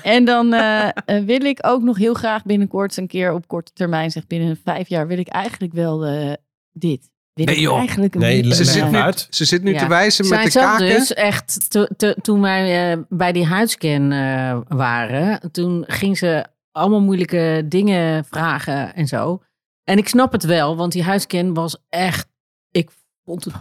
En dan eh, eh, wil ik ook nog heel graag binnenkort een keer op korte termijn, zeg binnen vijf jaar, wil ik eigenlijk wel eh, dit. Wil Nee, ik joh. eigenlijk een Nee, beetje- le- Ze leg zit hem nu, uit. ze zit nu Ja. te wijzen met Zij de zat kaken. dus echt, to- to- toen wij eh, bij die huidscan eh, waren, toen ging ze allemaal moeilijke dingen vragen en zo. En ik snap het wel, want die huidscan was echt, ik vond het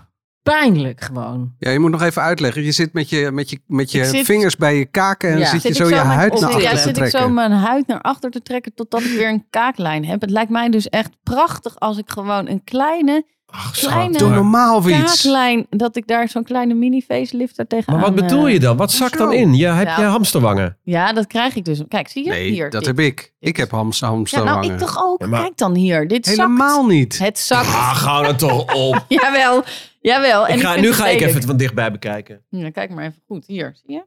pijnlijk gewoon. Ja, je moet nog even uitleggen. Je zit met je, met je, met je Ik zit- vingers bij je kaken en Ja. dan zit je Zit zo ik je mijn- huid of naar zit- achter ja, te zit ik trekken. zo mijn huid naar achter te trekken totdat ik weer een kaaklijn heb. Het lijkt mij dus echt prachtig als ik gewoon een kleine Ach, kleine- schat, Doe doe maar. normaal weer iets. kaaklijn, dat ik daar zo'n kleine mini facelift er tegenaan... Maar wat bedoel eh, je dan? Wat zakt dan Zo. in? Je hebt Ja. je hamsterwangen. Ja, dat krijg ik dus. Kijk, zie je? Nee, hier, dat dit. heb ik. Ik heb hamster, Ja, hamster nou, hangen. ik toch ook. Ja, maar- Kijk dan hier. Dit zakt. Helemaal niet. Het zakt. Ah, ga dan toch op. Jawel, jawel. En Ik ga, vind nu het ga ik lelijk. even het van dichtbij bekijken. Ja, kijk maar even goed. Hier, zie je?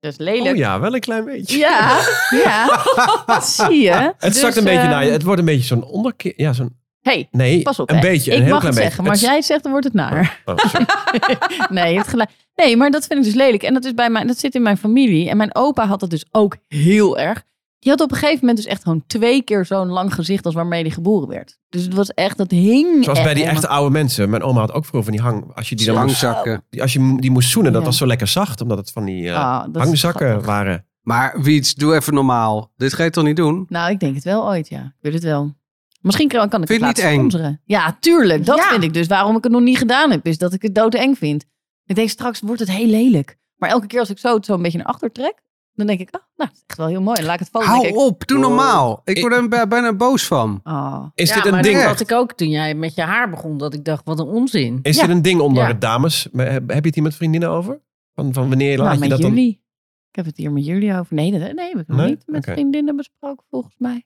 Dat is Oh lelijk. ja, wel een klein beetje. ja. ja, dat zie je. Het Dus, zakt een beetje eh, naar je. Het wordt een beetje zo'n onderkeer. Ja, zo'n. hey, Nee, Pas op, een hè. beetje. ik een heel mag klein het beetje. zeggen, maar als Het- jij het zegt, dan wordt het naar. Oh, sorry. Nee, je hebt gelijk. Nee, maar dat vind ik dus lelijk. En dat, is bij mij, dat zit in mijn familie. En mijn opa had dat dus ook heel erg. Die had op een gegeven moment dus echt gewoon twee keer zo'n lang gezicht als waarmee hij geboren werd. Dus het was echt, dat hing. Zoals bij die echt echte oude mensen. Mijn oma had ook vroeger van die hang. Als je die, dan moest, Hangzakken. die- als je die moest zoenen, dat Ja. was zo lekker zacht. Omdat het van die eh, helemaal- Ah, dat is hangzakken grappig. waren. Maar Wiets, doe even normaal. Dit ga je toch niet doen? Nou, ik denk het wel ooit, ja. Ik wil het wel. Misschien kan kan ik Vind je het het laten niet eng? sponsoren. Ja, tuurlijk. Dat Ja. vind ik dus. Waarom ik het nog niet gedaan heb, is dat ik het doodeng vind. Ik denk, straks wordt het heel lelijk. Maar elke keer als ik zo, zo een beetje naar achter trek, dan denk ik, oh, nou, het is echt wel heel mooi. En laat ik het foto denk Hou ik, op, doe Oh. normaal. Ik Ik- word er bij- bijna boos van. Oh. Is ja, dit een maar ding? dat had ik ook toen jij met je haar begon, dat ik dacht, wat een onzin. Is Ja. dit een ding onder Ja. de dames? Maar Heb heb je het hier met vriendinnen over? Van, van wanneer laat Nou, je met dat dan? jullie. Ik heb het hier met jullie over. Nee, dat, nee heb ik nog Nee? niet met Oké. vriendinnen besproken, volgens mij.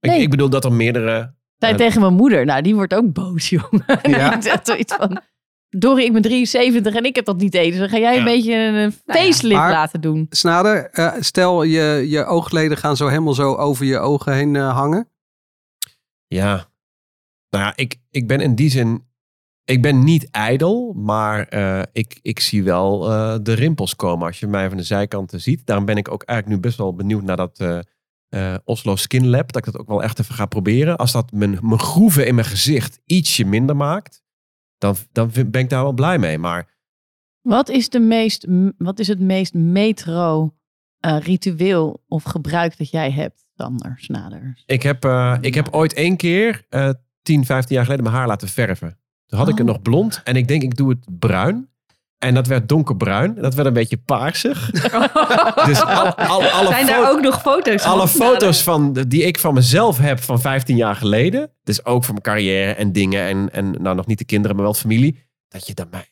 Ik, Nee. ik bedoel dat er meerdere. Zij Eh. tegen mijn moeder, nou, die wordt ook boos, jongen. Ja. Die zegt zoiets van... Dorie, ik ben 73 en ik heb dat niet eens. Dan ga jij een Ja. beetje een Nou ja. facelift Maar- laten doen. Snader, eh, stel je, je oogleden gaan zo helemaal zo over je ogen heen eh, hangen. Ja. Nou ja, ik, ik ben in die zin. Ik ben niet ijdel, maar eh, ik, ik zie wel eh, de rimpels komen als je mij van de zijkanten ziet. Daarom ben ik ook eigenlijk nu best wel benieuwd naar dat eh, eh, Oslo Skin Lab. Dat ik dat ook wel echt even ga proberen. Als dat mijn, mijn groeven in mijn gezicht ietsje minder maakt, dan, dan vind- ben ik daar wel blij mee. Maar Wat is, de meest, m- wat is het meest metro eh, ritueel of gebruik dat jij hebt, Sander Snader? ik heb, eh, ik heb ooit één keer, eh 10, 15 jaar geleden, mijn haar laten verven. Toen had ik het Oh. nog blond en ik denk ik doe het bruin. En dat werd donkerbruin. En dat werd een beetje paarsig. Dus al- al- alle, Zijn fo- daar ook nog foto's van? alle foto's van, de- die ik van mezelf heb van 15 jaar geleden. Dus ook van mijn carrière en dingen. En, en nou, nog niet de kinderen, maar wel familie. Dat je dan mij...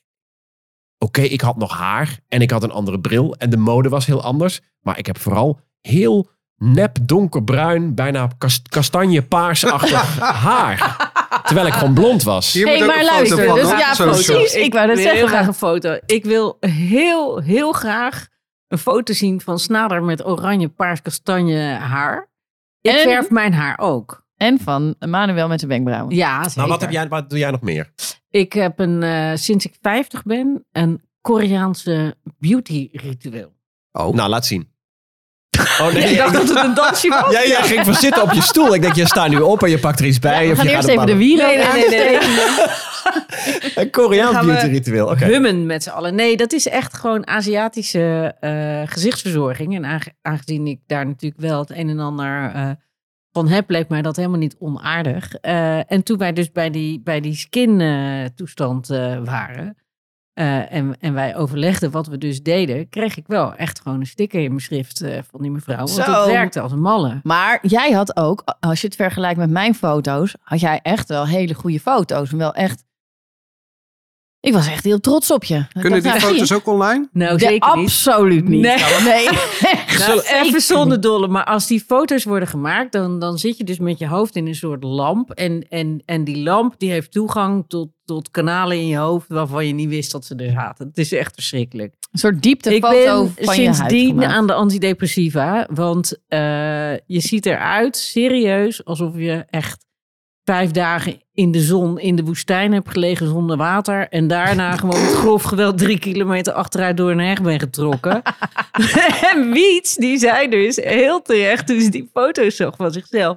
Oké, ik had nog haar en ik had een andere bril. En de mode was heel anders. Maar ik heb vooral heel nep donkerbruin, bijna kas- kastanjepaarsachtig haar. Terwijl ik gewoon blond was. Hier moet hey, ook maar een luister. foto van, Dus hoor. ja, Zo'n precies. short. Ik wou dat wil heel graag zeggen. een foto. Ik wil heel, heel graag een foto zien van Snader met oranje, paars, kastanje haar. Ik En- verf mijn haar ook. En van Manuel met zijn wenkbrauwen. Ja, zeker. Nou, wat, heb jij, wat doe jij nog meer? Ik heb een, eh, sinds ik 50 ben, een Koreaanse beauty ritueel. Oh. Nou, laat zien. Oh nee, Ik dacht dat het een dansje was. jij, jij ging voor zitten op je stoel. Ik denk, je staat nu op en je pakt er iets bij. we of gaan je eerst gaat even op de aan- wielen Nee, nee, nee, nee. Een Koreaans Dan gaan we- beauty ritueel. Oké. Hummen met z'n allen. Nee, dat is echt gewoon Aziatische eh, gezichtsverzorging. En aange- aangezien ik daar natuurlijk wel het een en ander eh, van heb, leek mij dat helemaal niet onaardig. Eh, en toen wij dus bij die, bij die skin-toestand waren. eh, en, en wij overlegden wat we dus deden, kreeg ik wel echt gewoon een sticker in mijn schrift eh, van die mevrouw. Want Zo. het werkte als een malle. Maar jij had ook, als je het vergelijkt met mijn foto's, had jij echt wel hele goede foto's. En wel echt. Ik was echt heel trots op je. Ik Kunnen dacht, die nou, foto's ook online? Nou, zie je. zeker niet. Absoluut niet. Nee. nee. Nou, even Zeker zonder dolle, maar als die foto's worden gemaakt, dan, dan zit je dus met je hoofd in een soort lamp. En, en, en die lamp die heeft toegang tot, tot kanalen in je hoofd waarvan je niet wist dat ze er zaten. Het is echt verschrikkelijk. Een soort dieptefoto ik van ben je huid sindsdien gemaakt. aan de antidepressiva, want eh, je ziet eruit serieus alsof je echt vijf dagen in de zon in de woestijn hebt gelegen zonder water en daarna gewoon met grof geweld drie kilometer achteruit door een heg ben getrokken. en Wiets, die zei dus heel terecht toen ze die foto's zag van zichzelf.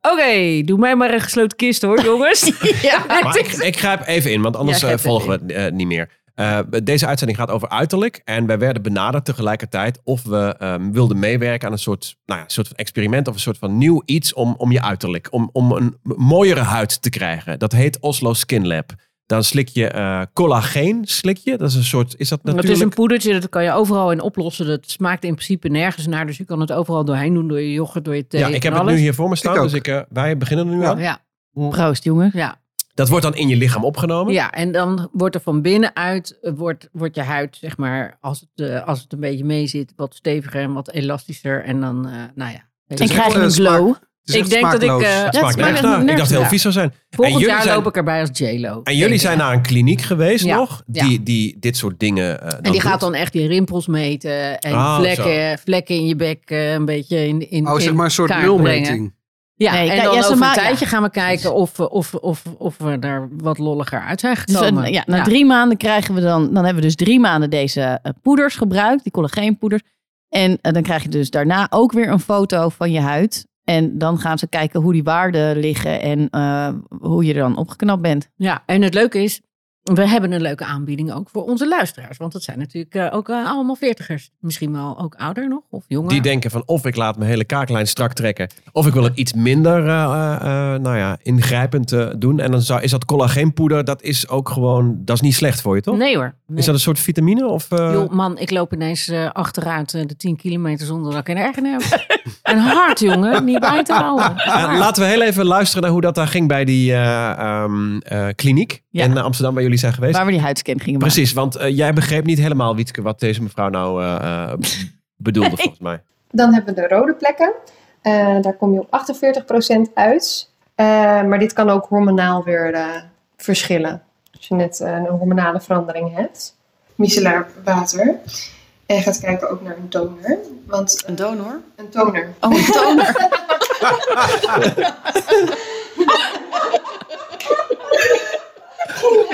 Oké, doe mij maar een gesloten kist hoor, jongens. Ja. Maar ik, ik grijp even in, want anders Ja, eh, grijp volgen we het eh, niet meer. Eh, deze uitzending gaat over uiterlijk. En wij werden benaderd tegelijkertijd of we ehm, wilden meewerken aan een soort, nou ja, een soort van experiment of een soort van nieuw iets om, om je uiterlijk. Om, om een mooiere huid te krijgen. Dat heet Oslo Skin Lab. Dan slik je eh, collageen, slik je. Dat is een soort, is dat Het natuurlijk? is een poedertje, dat kan je overal in oplossen. Dat smaakt in principe nergens naar. Dus je kan het overal doorheen doen, door je yoghurt, door je thee. ja, ik heb van het nu alles. hier voor me staan, Ik ook. dus ik, eh, wij beginnen er nu aan. Ja, Proost, jongen. ja, Dat wordt dan in je lichaam opgenomen. ja, en dan wordt er van binnenuit eh, wordt, wordt je huid, zeg maar, als het, eh, als het een beetje mee zit, wat steviger en wat elastischer. En dan, eh, nou ja. En is krijg je echt, een eh, smaak- glow. Het is Ik echt denk dat ik, smaakloos. eh, Dat Ja, smaakt het smaakt nergens naar. Ik nergens dacht dat het heel naar. vies zou zijn. Volgend jullie jaar zijn- loop ik erbij als J-Lo. En jullie zijn naar een kliniek geweest Ja, nog, ja. die, die dit soort dingen. eh, En die doet? gaat dan echt je rimpels meten en Ah, vlekken, vlekken in je bek eh, een beetje in, in Oh, zeg in maar een soort kaart brengen. nulmeting. Ja, Nee, en kijk, dan ja, ze over een ma- ja. tijdje gaan we kijken of, we- of, of, of we er wat lolliger uit zijn Dus, gekomen. eh, ja, na drie maanden krijgen we dan, dan hebben we dus drie maanden deze eh, poeders gebruikt, die collageenpoeders. En eh, dan krijg je dus daarna ook weer een foto van je huid. En dan gaan ze kijken hoe die waarden liggen en eh, hoe je er dan opgeknapt bent. Ja, en het leuke is, we hebben een leuke aanbieding ook voor onze luisteraars. Want dat zijn natuurlijk eh, ook eh, allemaal veertigers. Misschien wel ook ouder nog, of jonger. Die denken van of ik laat mijn hele kaaklijn strak trekken. Of ik wil het iets minder eh, eh, eh, nou ja, ingrijpend eh, doen. En dan zou, is dat collageenpoeder, dat is ook gewoon, dat is niet slecht voor je toch? Nee hoor. Nee. Is dat een soort vitamine? Of, eh, Joh, man, ik loop ineens eh, achteruit eh, de 10 kilometer zonder dat ik een ergen heb. en hard, jongen. Niet bij te houden. Eh, laten we heel even luisteren naar hoe dat daar ging bij die eh, ehm, eh, kliniek Ja. in Amsterdam waar jullie zijn geweest. Waar we die huidscan gingen maken. Precies, want eh, jij begreep niet helemaal, Wietke, wat deze mevrouw nou eh, eh, bedoelde volgens mij. Dan hebben we de rode plekken. Eh, daar kom je op 48% uit. Eh, maar dit kan ook hormonaal weer eh, verschillen. Als je net eh, een hormonale verandering hebt. Micellair water. En je gaat kijken ook naar een toner. Want, een toner? Een toner. Oh, een toner.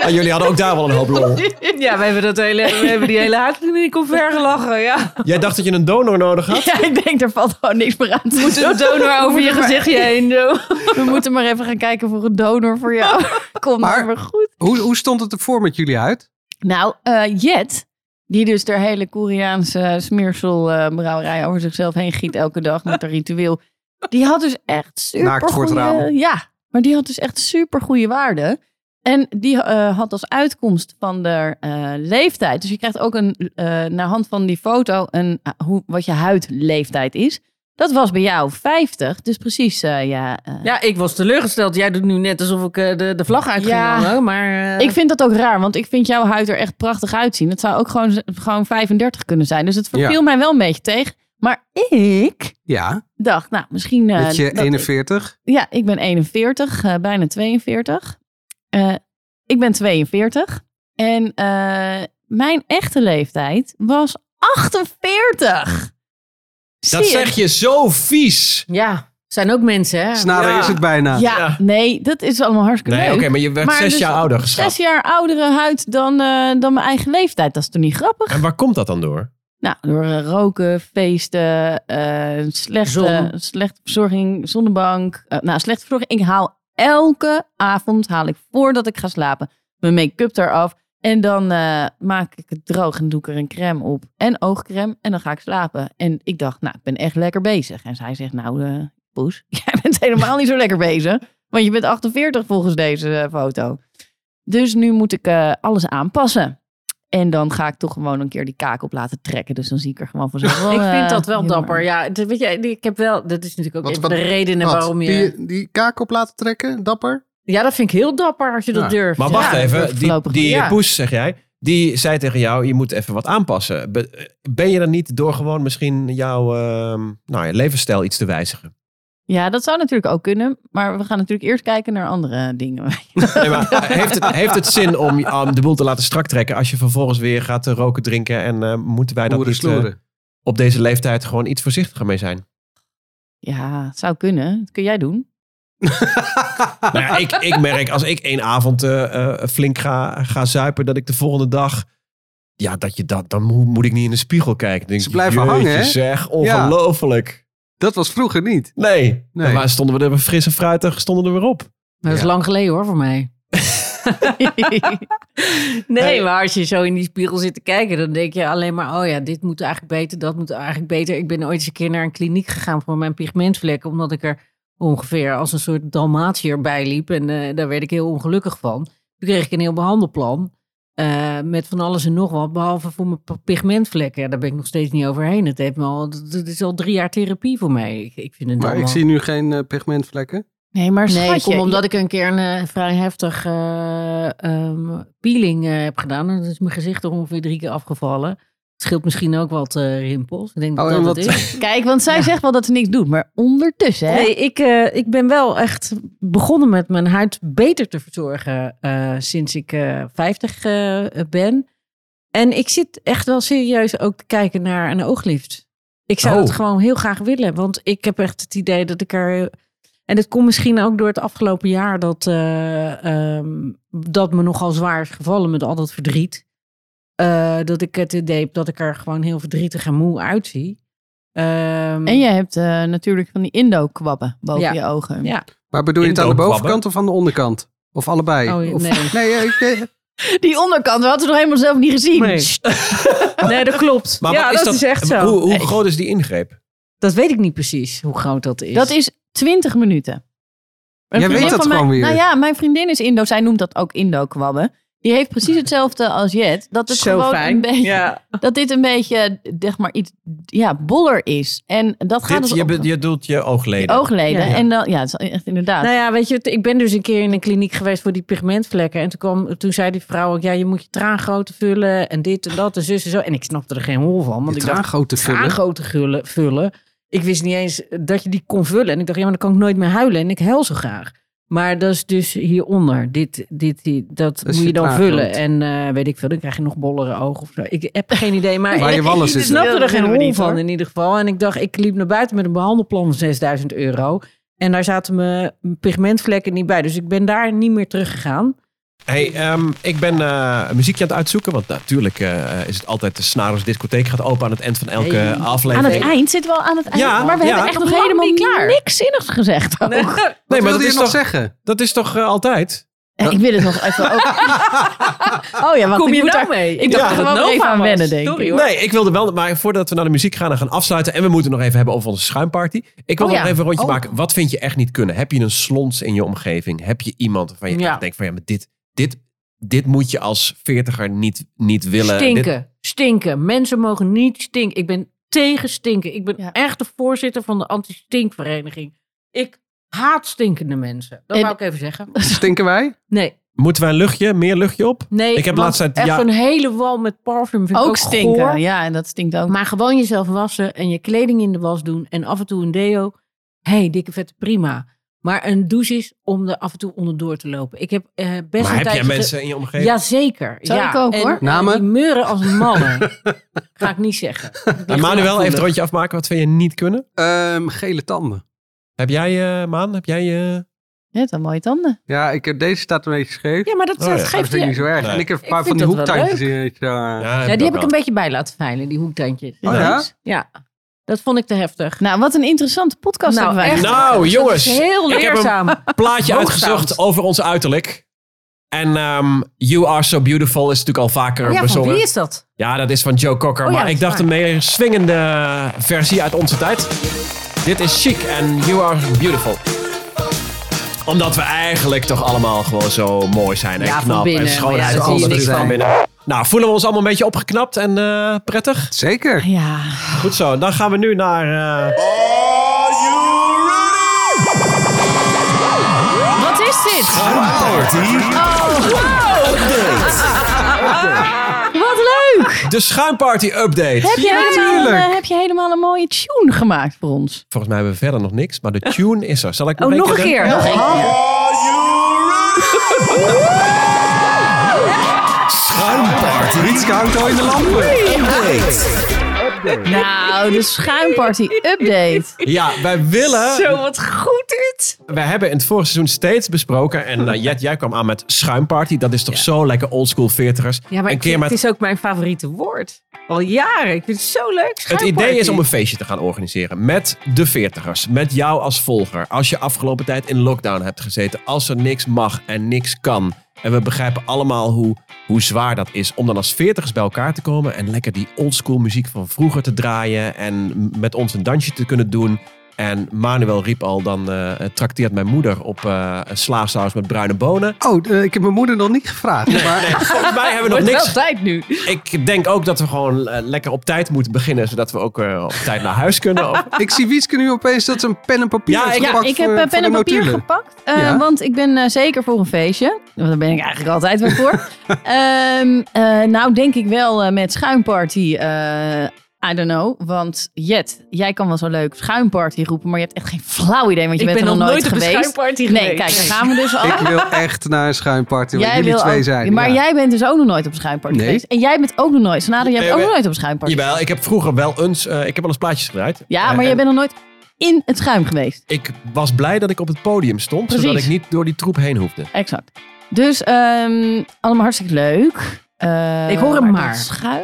Ah, jullie hadden ook daar wel een hoop lol. Ja, we hebben, dat hele, we hebben die hele huidkliniek omver gelachen, ja. Jij dacht dat je een donor nodig had? ja, ik denk, er valt gewoon niks meer aan te doen. Zo'n donor over je gezichtje heen, zo. We moeten maar even gaan kijken voor een donor voor jou. Komt Maar- maar weer goed. Hoe, hoe stond het ervoor met jullie huid? Nou, eh, Jet, die dus de hele Koreaanse smeerselbrouwerij over zichzelf heen giet elke dag met haar ritueel. Die had dus echt super Naakt voor het raam. Ja, maar die had dus echt super goede waarde. En die eh, had als uitkomst van de leeftijd. Dus je krijgt ook een, eh, naar hand van die foto een, ah, hoe, wat je huidleeftijd is. Dat was bij jou 50. Dus precies, eh, ja. eh, Ja, ik was teleurgesteld. Jij doet nu net alsof ik eh, de, de vlag uit ging Ja. hangen, maar... eh, Ik vind dat ook raar, want ik vind jouw huid er echt prachtig uitzien. Het zou ook gewoon, gewoon 35 kunnen zijn. Dus het verviel Ja. mij wel een beetje tegen. Maar ik Ja, dacht, nou, misschien... eh, met je dat- 41. Ja, ik ben 41, eh, bijna 42. Eh, ik ben 42. En eh, mijn echte leeftijd was 48. Zie Dat je? zeg je zo vies. Ja, zijn ook mensen, hè? Snaren Ja. is het bijna. Ja, Ja. nee, dat is allemaal hartstikke Nee, leuk. oké, maar je werd Maar zes dus jaar ouder Zes geschat. jaar oudere huid dan, eh, dan mijn eigen leeftijd. Dat is toch niet grappig? En waar komt dat dan door? Nou, door eh, roken, feesten, eh, slechte, Zon. slechte verzorging, zonnebank. Eh, nou, slechte verzorging. Ik haal elke avond, haal ik voordat ik ga slapen, mijn make-up eraf. En dan eh, maak ik het droog en doe ik er een crème op. En oogcrème. En dan ga ik slapen. En ik dacht, nou, ik ben echt lekker bezig. En zij zegt, nou, eh, poes, jij bent helemaal niet zo lekker bezig. Want je bent 48 volgens deze eh, foto. Dus nu moet ik eh, alles aanpassen. En dan ga ik toch gewoon een keer die kaak op laten trekken. Dus dan zie ik er gewoon vanzelf. wel, Ik vind eh, dat wel heel dapper. mooi. Ja, dat, weet je, ik heb wel, dat is natuurlijk ook Wat- een wat- van de redenen Wat? waarom je... Die, die kaak op laten trekken, dapper. Ja, dat vind ik heel dapper als je dat Ja. durft. Maar wacht Ja. dat even, is die, voorlopig die niet. Ja. poes, zeg jij, die zei tegen jou, je moet even wat aanpassen. Be- Ben je dan niet door gewoon misschien jouw ehm, nou ja, levensstijl iets te wijzigen? Ja, dat zou natuurlijk ook kunnen. Maar we gaan natuurlijk eerst kijken naar andere dingen. Nee, maar heeft, het, heeft het zin om ehm, de boel te laten strak trekken als je vervolgens weer gaat eh, roken, drinken en eh, moeten wij dat Boeren niet eh, sloeren. op deze leeftijd gewoon iets voorzichtiger mee zijn? Ja, het zou kunnen. Dat kun jij doen. Nou ja, ik, ik merk als ik één avond eh, eh, flink ga, ga zuipen, dat ik de volgende dag. Ja, dat je dat, dan mo- moet ik niet in de spiegel kijken. Dan Denk, Ze ik, blijven jeetje hangen, hè? zeg, ongelooflijk. Dat was vroeger niet. Nee. Nee. Maar stonden we er frisse fruitig, stonden er weer op. Maar dat is Ja. lang geleden hoor, voor mij. Nee, maar als je zo in die spiegel zit te kijken, dan denk je alleen maar, oh ja, dit moet eigenlijk beter, dat moet eigenlijk beter. Ik ben ooit eens een keer naar een kliniek gegaan voor mijn pigmentvlekken, omdat ik er ongeveer als een soort dalmatier bij liep. En eh, daar werd ik heel ongelukkig van. Toen kreeg ik een heel behandelplan eh, met van alles en nog wat, behalve voor mijn p- pigmentvlekken. Ja, daar ben ik nog steeds niet overheen. Het, heeft me al, het het is al drie jaar therapie voor mij. Ik, ik vind het Maar ik allemaal- zie nu geen eh, pigmentvlekken. Nee, maar Nee, schatje, kom omdat ik een keer een eh, vrij heftig eh, ehm, peeling eh, heb gedaan. En dat is mijn gezicht er ongeveer drie keer afgevallen. Het scheelt misschien ook wat eh, rimpels. Ik denk Oh, dat en dat wat- het is. Kijk, want zij zegt wel dat ze niks doet. Maar ondertussen, hè? Nee, ik, eh, ik ben wel echt begonnen met mijn huid beter te verzorgen eh, sinds ik eh 50 eh, ben. En ik zit echt wel serieus ook te kijken naar een ooglift. Ik zou Oh. het gewoon heel graag willen, want ik heb echt het idee dat ik er. En dat komt misschien ook door het afgelopen jaar dat, eh, ehm, dat me nogal zwaar is gevallen met al dat verdriet. Eh, dat ik het idee heb dat ik er gewoon heel verdrietig en moe uitzie. Ehm, En jij hebt eh, natuurlijk van die Indo-kwabben boven Ja. je ogen. Ja. Maar bedoel je het aan de Indoopkwabben. bovenkant of aan de onderkant? Of allebei? Oh, Of- nee. nee ja, ik, eh, Die onderkant, we hadden ze nog helemaal zelf niet gezien. Nee. Nee, dat klopt. Maar ja, wat dat, is echt zo. Hoe, hoe groot is die ingreep? Dat weet ik niet precies hoe groot dat is. Dat is 20 minuten. Een Jij vriendin weet dat van mij- gewoon weer. Nou ja, mijn vriendin is Indo. Zij noemt dat ook Indo-kwabben. Die heeft precies hetzelfde als Jet. Dat het zo gewoon een fijn. beetje... Ja. Dat dit een beetje, zeg maar, iets ja, boller is. En dat gaat Dit, dus je, op be- je doet je oogleden. je oogleden. Ja, ja. En dan, ja, het is echt inderdaad. Nou ja, weet je, ik ben dus een keer in een kliniek geweest voor die pigmentvlekken. En toen, kwam, toen zei die vrouw ook, ja, je moet je traangrootte vullen en dit en dat en zus en zo. En ik snapte er geen hol van, want je ik dacht, traangoot te vullen. traangrootte vullen, vullen. Ik wist niet eens dat je die kon vullen. En ik dacht, ja, maar dan kan ik nooit meer huilen en ik huil zo graag. Maar dat is dus hieronder. Dit, dit, dit- dat is moet je je dan traangrootte. vullen. En eh, weet ik veel, dan krijg je nog bollere ogen of zo. Ik heb geen idee, maar... Waar je wallen Ik zitten. snapte er Dat geen willen we hol niet, van hoor. in ieder geval. En ik dacht, ik liep naar buiten met een behandelplan van 6000 euro. En daar zaten mijn pigmentvlekken niet bij. Dus ik ben daar niet meer teruggegaan. Hey, ehm, ik ben eh, muziekje aan het uitzoeken. Want natuurlijk eh, is het altijd de Snaros discotheek gaat open aan het eind van elke Hey. aflevering. aan het eind zitten we al aan het eind. Ja, maar we ja. hebben echt Nog nog lang helemaal niet klaar. niks zinnigs gezegd. ook. Nee, Wat maar wilde dat je is, nog toch, zeggen? dat is toch eh, altijd? Eh, Ik wil het nog even... ook- oh ja, want Kom ik je moet nou daar- mee? Ik dacht Ja. er gewoon Nova even aan was. wennen, denk Sorry, ik. hoor. Nee, ik wilde wel, maar voordat we naar de muziek gaan en gaan afsluiten. En we moeten het nog even hebben over onze schuimparty. Ik wil Oh nog ja. even een rondje Oh. maken. Wat vind je echt niet kunnen? Heb je een slons in je omgeving? Heb je iemand waarvan je Ja. echt denkt van ja, maar dit, dit, dit moet je als veertiger niet, niet willen. Stinken, stinken. Mensen mogen niet stinken. Ik ben tegen stinken. Ik ben Ja. echt de voorzitter van de anti-stinkvereniging. Ik haat stinkende mensen. Dat En- wou ik even zeggen. Stinken wij? Nee, Moeten wij een luchtje, meer luchtje op? Nee, Ik heb want laatst uit- echt ja. zo'n hele wal met parfum vind ik Ook, ook, stinken. goor. Ja, en dat stinkt ook. Maar gewoon jezelf wassen en je kleding in de was doen en af en toe een deo. hey, dikke vette, prima. Maar een douche is om er af en toe onderdoor te lopen. Ik heb eh, best maar heb een jij tijdje... ge- mensen in je omgeving? Jazeker. Zou ja. ik ook, En, hoor. eh, Namen? Die meuren als mannen. Ga ik niet zeggen. Dat ligt En eraan Manuel, even voelen. het rondje afmaken. Wat vind je niet kunnen? Ehm, gele tanden. Heb jij, eh, Maan, heb jij... eh, Je hebt wel mooie tanden. Ja, ik heb, deze staat een beetje scheef. Ja, maar dat, Oh dat ja, Maar dat geeft vind ik je... niet zo erg. Nee. En ik heb een Ik paar van vind die dat wel hoektandjes in. weet je wel. heb Ja, die heb ook ik een wel. beetje bij laten veilen, die hoektandjes. Oh ja? Ja, dat vond ik te heftig. Nou, wat een interessante podcast Nou, hebben wij. echt. Nou, jongens. Dat is heel ik heb hem- leerzaam. plaatje Hoogstaand. uitgezocht over ons uiterlijk. En ehm, You Are So Beautiful is natuurlijk al vaker Oh Ja, van bezongen. wie is dat? Ja, dat is van Joe Cocker. Oh ja, maar dat ik is dacht een waar. meer swingende versie uit onze tijd. Dit is chic en You Are Beautiful. Omdat we eigenlijk toch allemaal gewoon zo mooi zijn. En Ja, van knap binnen, en schoonheid. maar ja, en daar alles zie je natuurlijk niks van binnen. Nou, voelen we ons allemaal een beetje opgeknapt en eh, prettig? Zeker. Ja, Goed zo, dan gaan we nu naar... eh, wat is Nou, dit? Wat leuk! de Schuimparty Update. Heb je, helemaal, eh, heb je helemaal een mooie tune gemaakt voor ons? Volgens mij hebben we verder nog niks, maar de tune is er. Zal ik Oh, nog een de- keer. Nog een keer. Rietske houdt al in de lampen. Nou, de schuimparty update. Ja, wij willen. wat goed dit. Wij hebben in het vorige seizoen steeds besproken. En eh, Jet, jij kwam aan met schuimparty. Dat is toch zo lekker oldschool 40ers. Ja, maar een ik vind- keer met, het is ook mijn favoriete woord. Al jaren. Ik vind het zo leuk. het idee Schuimparty. is om een feestje te gaan organiseren. Met de 40ers. Met jou als volger. Als je afgelopen tijd in lockdown hebt gezeten. Als er niks mag en niks kan. En we begrijpen allemaal hoe, hoe zwaar dat is. Om dan als 40ers bij elkaar te komen. En lekker die oldschool muziek van vroeger te draaien. En met ons een dansje te kunnen doen. En Manuel riep al, dan eh trakteert mijn moeder op eh slaasaus met bruine bonen. Oh, eh, ik heb mijn moeder nog niet gevraagd. maar Volgens mij hebben we nog Wordt wel niks. tijd nu. Ik denk ook dat we gewoon eh, lekker op tijd moeten beginnen, zodat we ook eh, op tijd naar huis kunnen. Of- ik zie Wietske nu opeens dat ze een pen en papier Ja, heeft ik- Ja, gepakt ik heb voor- eh, voor pen de en papier notulen. gepakt. eh, Ja. Want ik ben eh, zeker voor een feestje. Want daar ben ik eigenlijk altijd weer voor. Ehm, eh, nou, denk ik wel eh, met schuimparty. eh, I don't know. Want Jet, jij kan wel zo leuk schuimparty roepen. Maar je hebt echt geen flauw idee. Want je Ik bent ben er nog nooit op een geweest. schuimparty Nee, geweest. kijk, daar Nee. gaan we dus al. Ik wil echt naar een schuimparty waar Jij jullie wil twee ook- zijn. Maar ja. jij bent dus ook nog nooit op een schuimparty Nee. geweest. En jij bent ook nog nooit. Sonado, jij bent Nee, ook we- nog nooit op een schuimparty Jawel, ik heb vroeger wel eens, eh, ik heb wel eens plaatjes gedraaid. Ja, Eh, maar jij en bent nog nooit in het schuim geweest. Ik was blij dat ik op het podium stond, zodat Precies. ik niet door die troep heen hoefde. Exact. Dus ehm, allemaal hartstikke leuk. Eh, Ik hoor hem maar. dat Schuim? eh,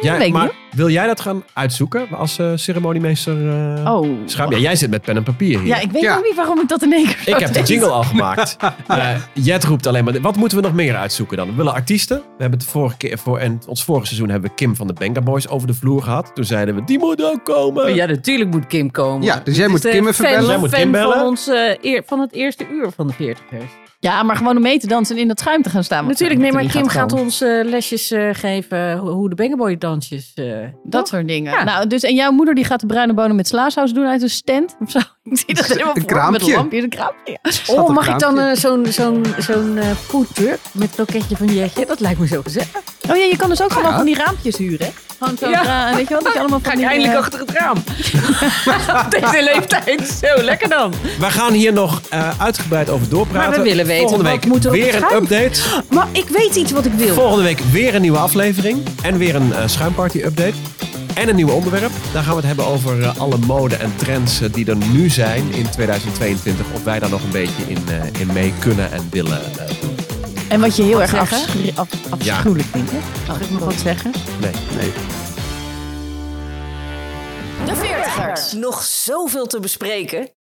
Jij- weet ik maar wil jij dat gaan uitzoeken als eh, ceremoniemeester? eh, niet. Oh. Schuim? Ja, jij zit met pen en papier hier. Ja, ik weet Ja. ook niet waarom ik dat in één keer Ik zo heb de deed. jingle al gemaakt. Eh, Jet roept alleen maar. Wat moeten we nog meer uitzoeken dan? We willen artiesten. We hebben het vorige keer voor en ons vorige seizoen hebben we Kim van de Benga Boys over de vloer gehad. Toen zeiden we die moet ook komen. Ja, natuurlijk moet Kim komen. Ja, dus jij Het moet is, eh, Kim even fan- bellen. Jij moet fan Kim bellen. Van, ons, eh, eer, van het eerste uur van de 40ers. Ja, maar gewoon om mee te dansen en in dat schuim te gaan staan. want Natuurlijk, nee, er maar niet Kim gaat komen. ons eh, lesjes eh, geven hoe- hoe de Bengaboy dansjes. eh, Dat toch? soort dingen. Ja. Nou, dus, en jouw moeder die gaat de bruine bonen met slaasaus doen uit een stand of zo. Ik zie dat helemaal voor me Met kraampje. een lampje, een kraampje. ja. Oh, mag ik kraampje. dan eh, zo'n zo'n zo'n eh, food truck met het loketje van Jetje? Dat lijkt me zo gezellig. Oh ja, je kan dus ook gewoon van die raampjes huren. hè? Gewoon zo, Ja. ja. weet je wel, dat je allemaal van die, eh, achter het raam. Op Deze leeftijd. Zo, lekker dan. We gaan hier nog eh, uitgebreid over doorpraten. Maar we willen weten, Volgende wat week moet er op weer het een schuim? update. Maar ik weet iets wat ik wil. Volgende week weer een nieuwe aflevering en weer een eh, schuimparty update. En een nieuw onderwerp. Daar gaan we het hebben over eh, alle mode en trends eh, die er nu zijn in 2022. Of wij daar nog een beetje in, eh, in mee kunnen en willen eh, doen. En wat je heel erg zeggen? afschri- af- afschuwelijk vindt, hè? Mag ik nog wat zeggen? Nee, nee. Nog zoveel te bespreken.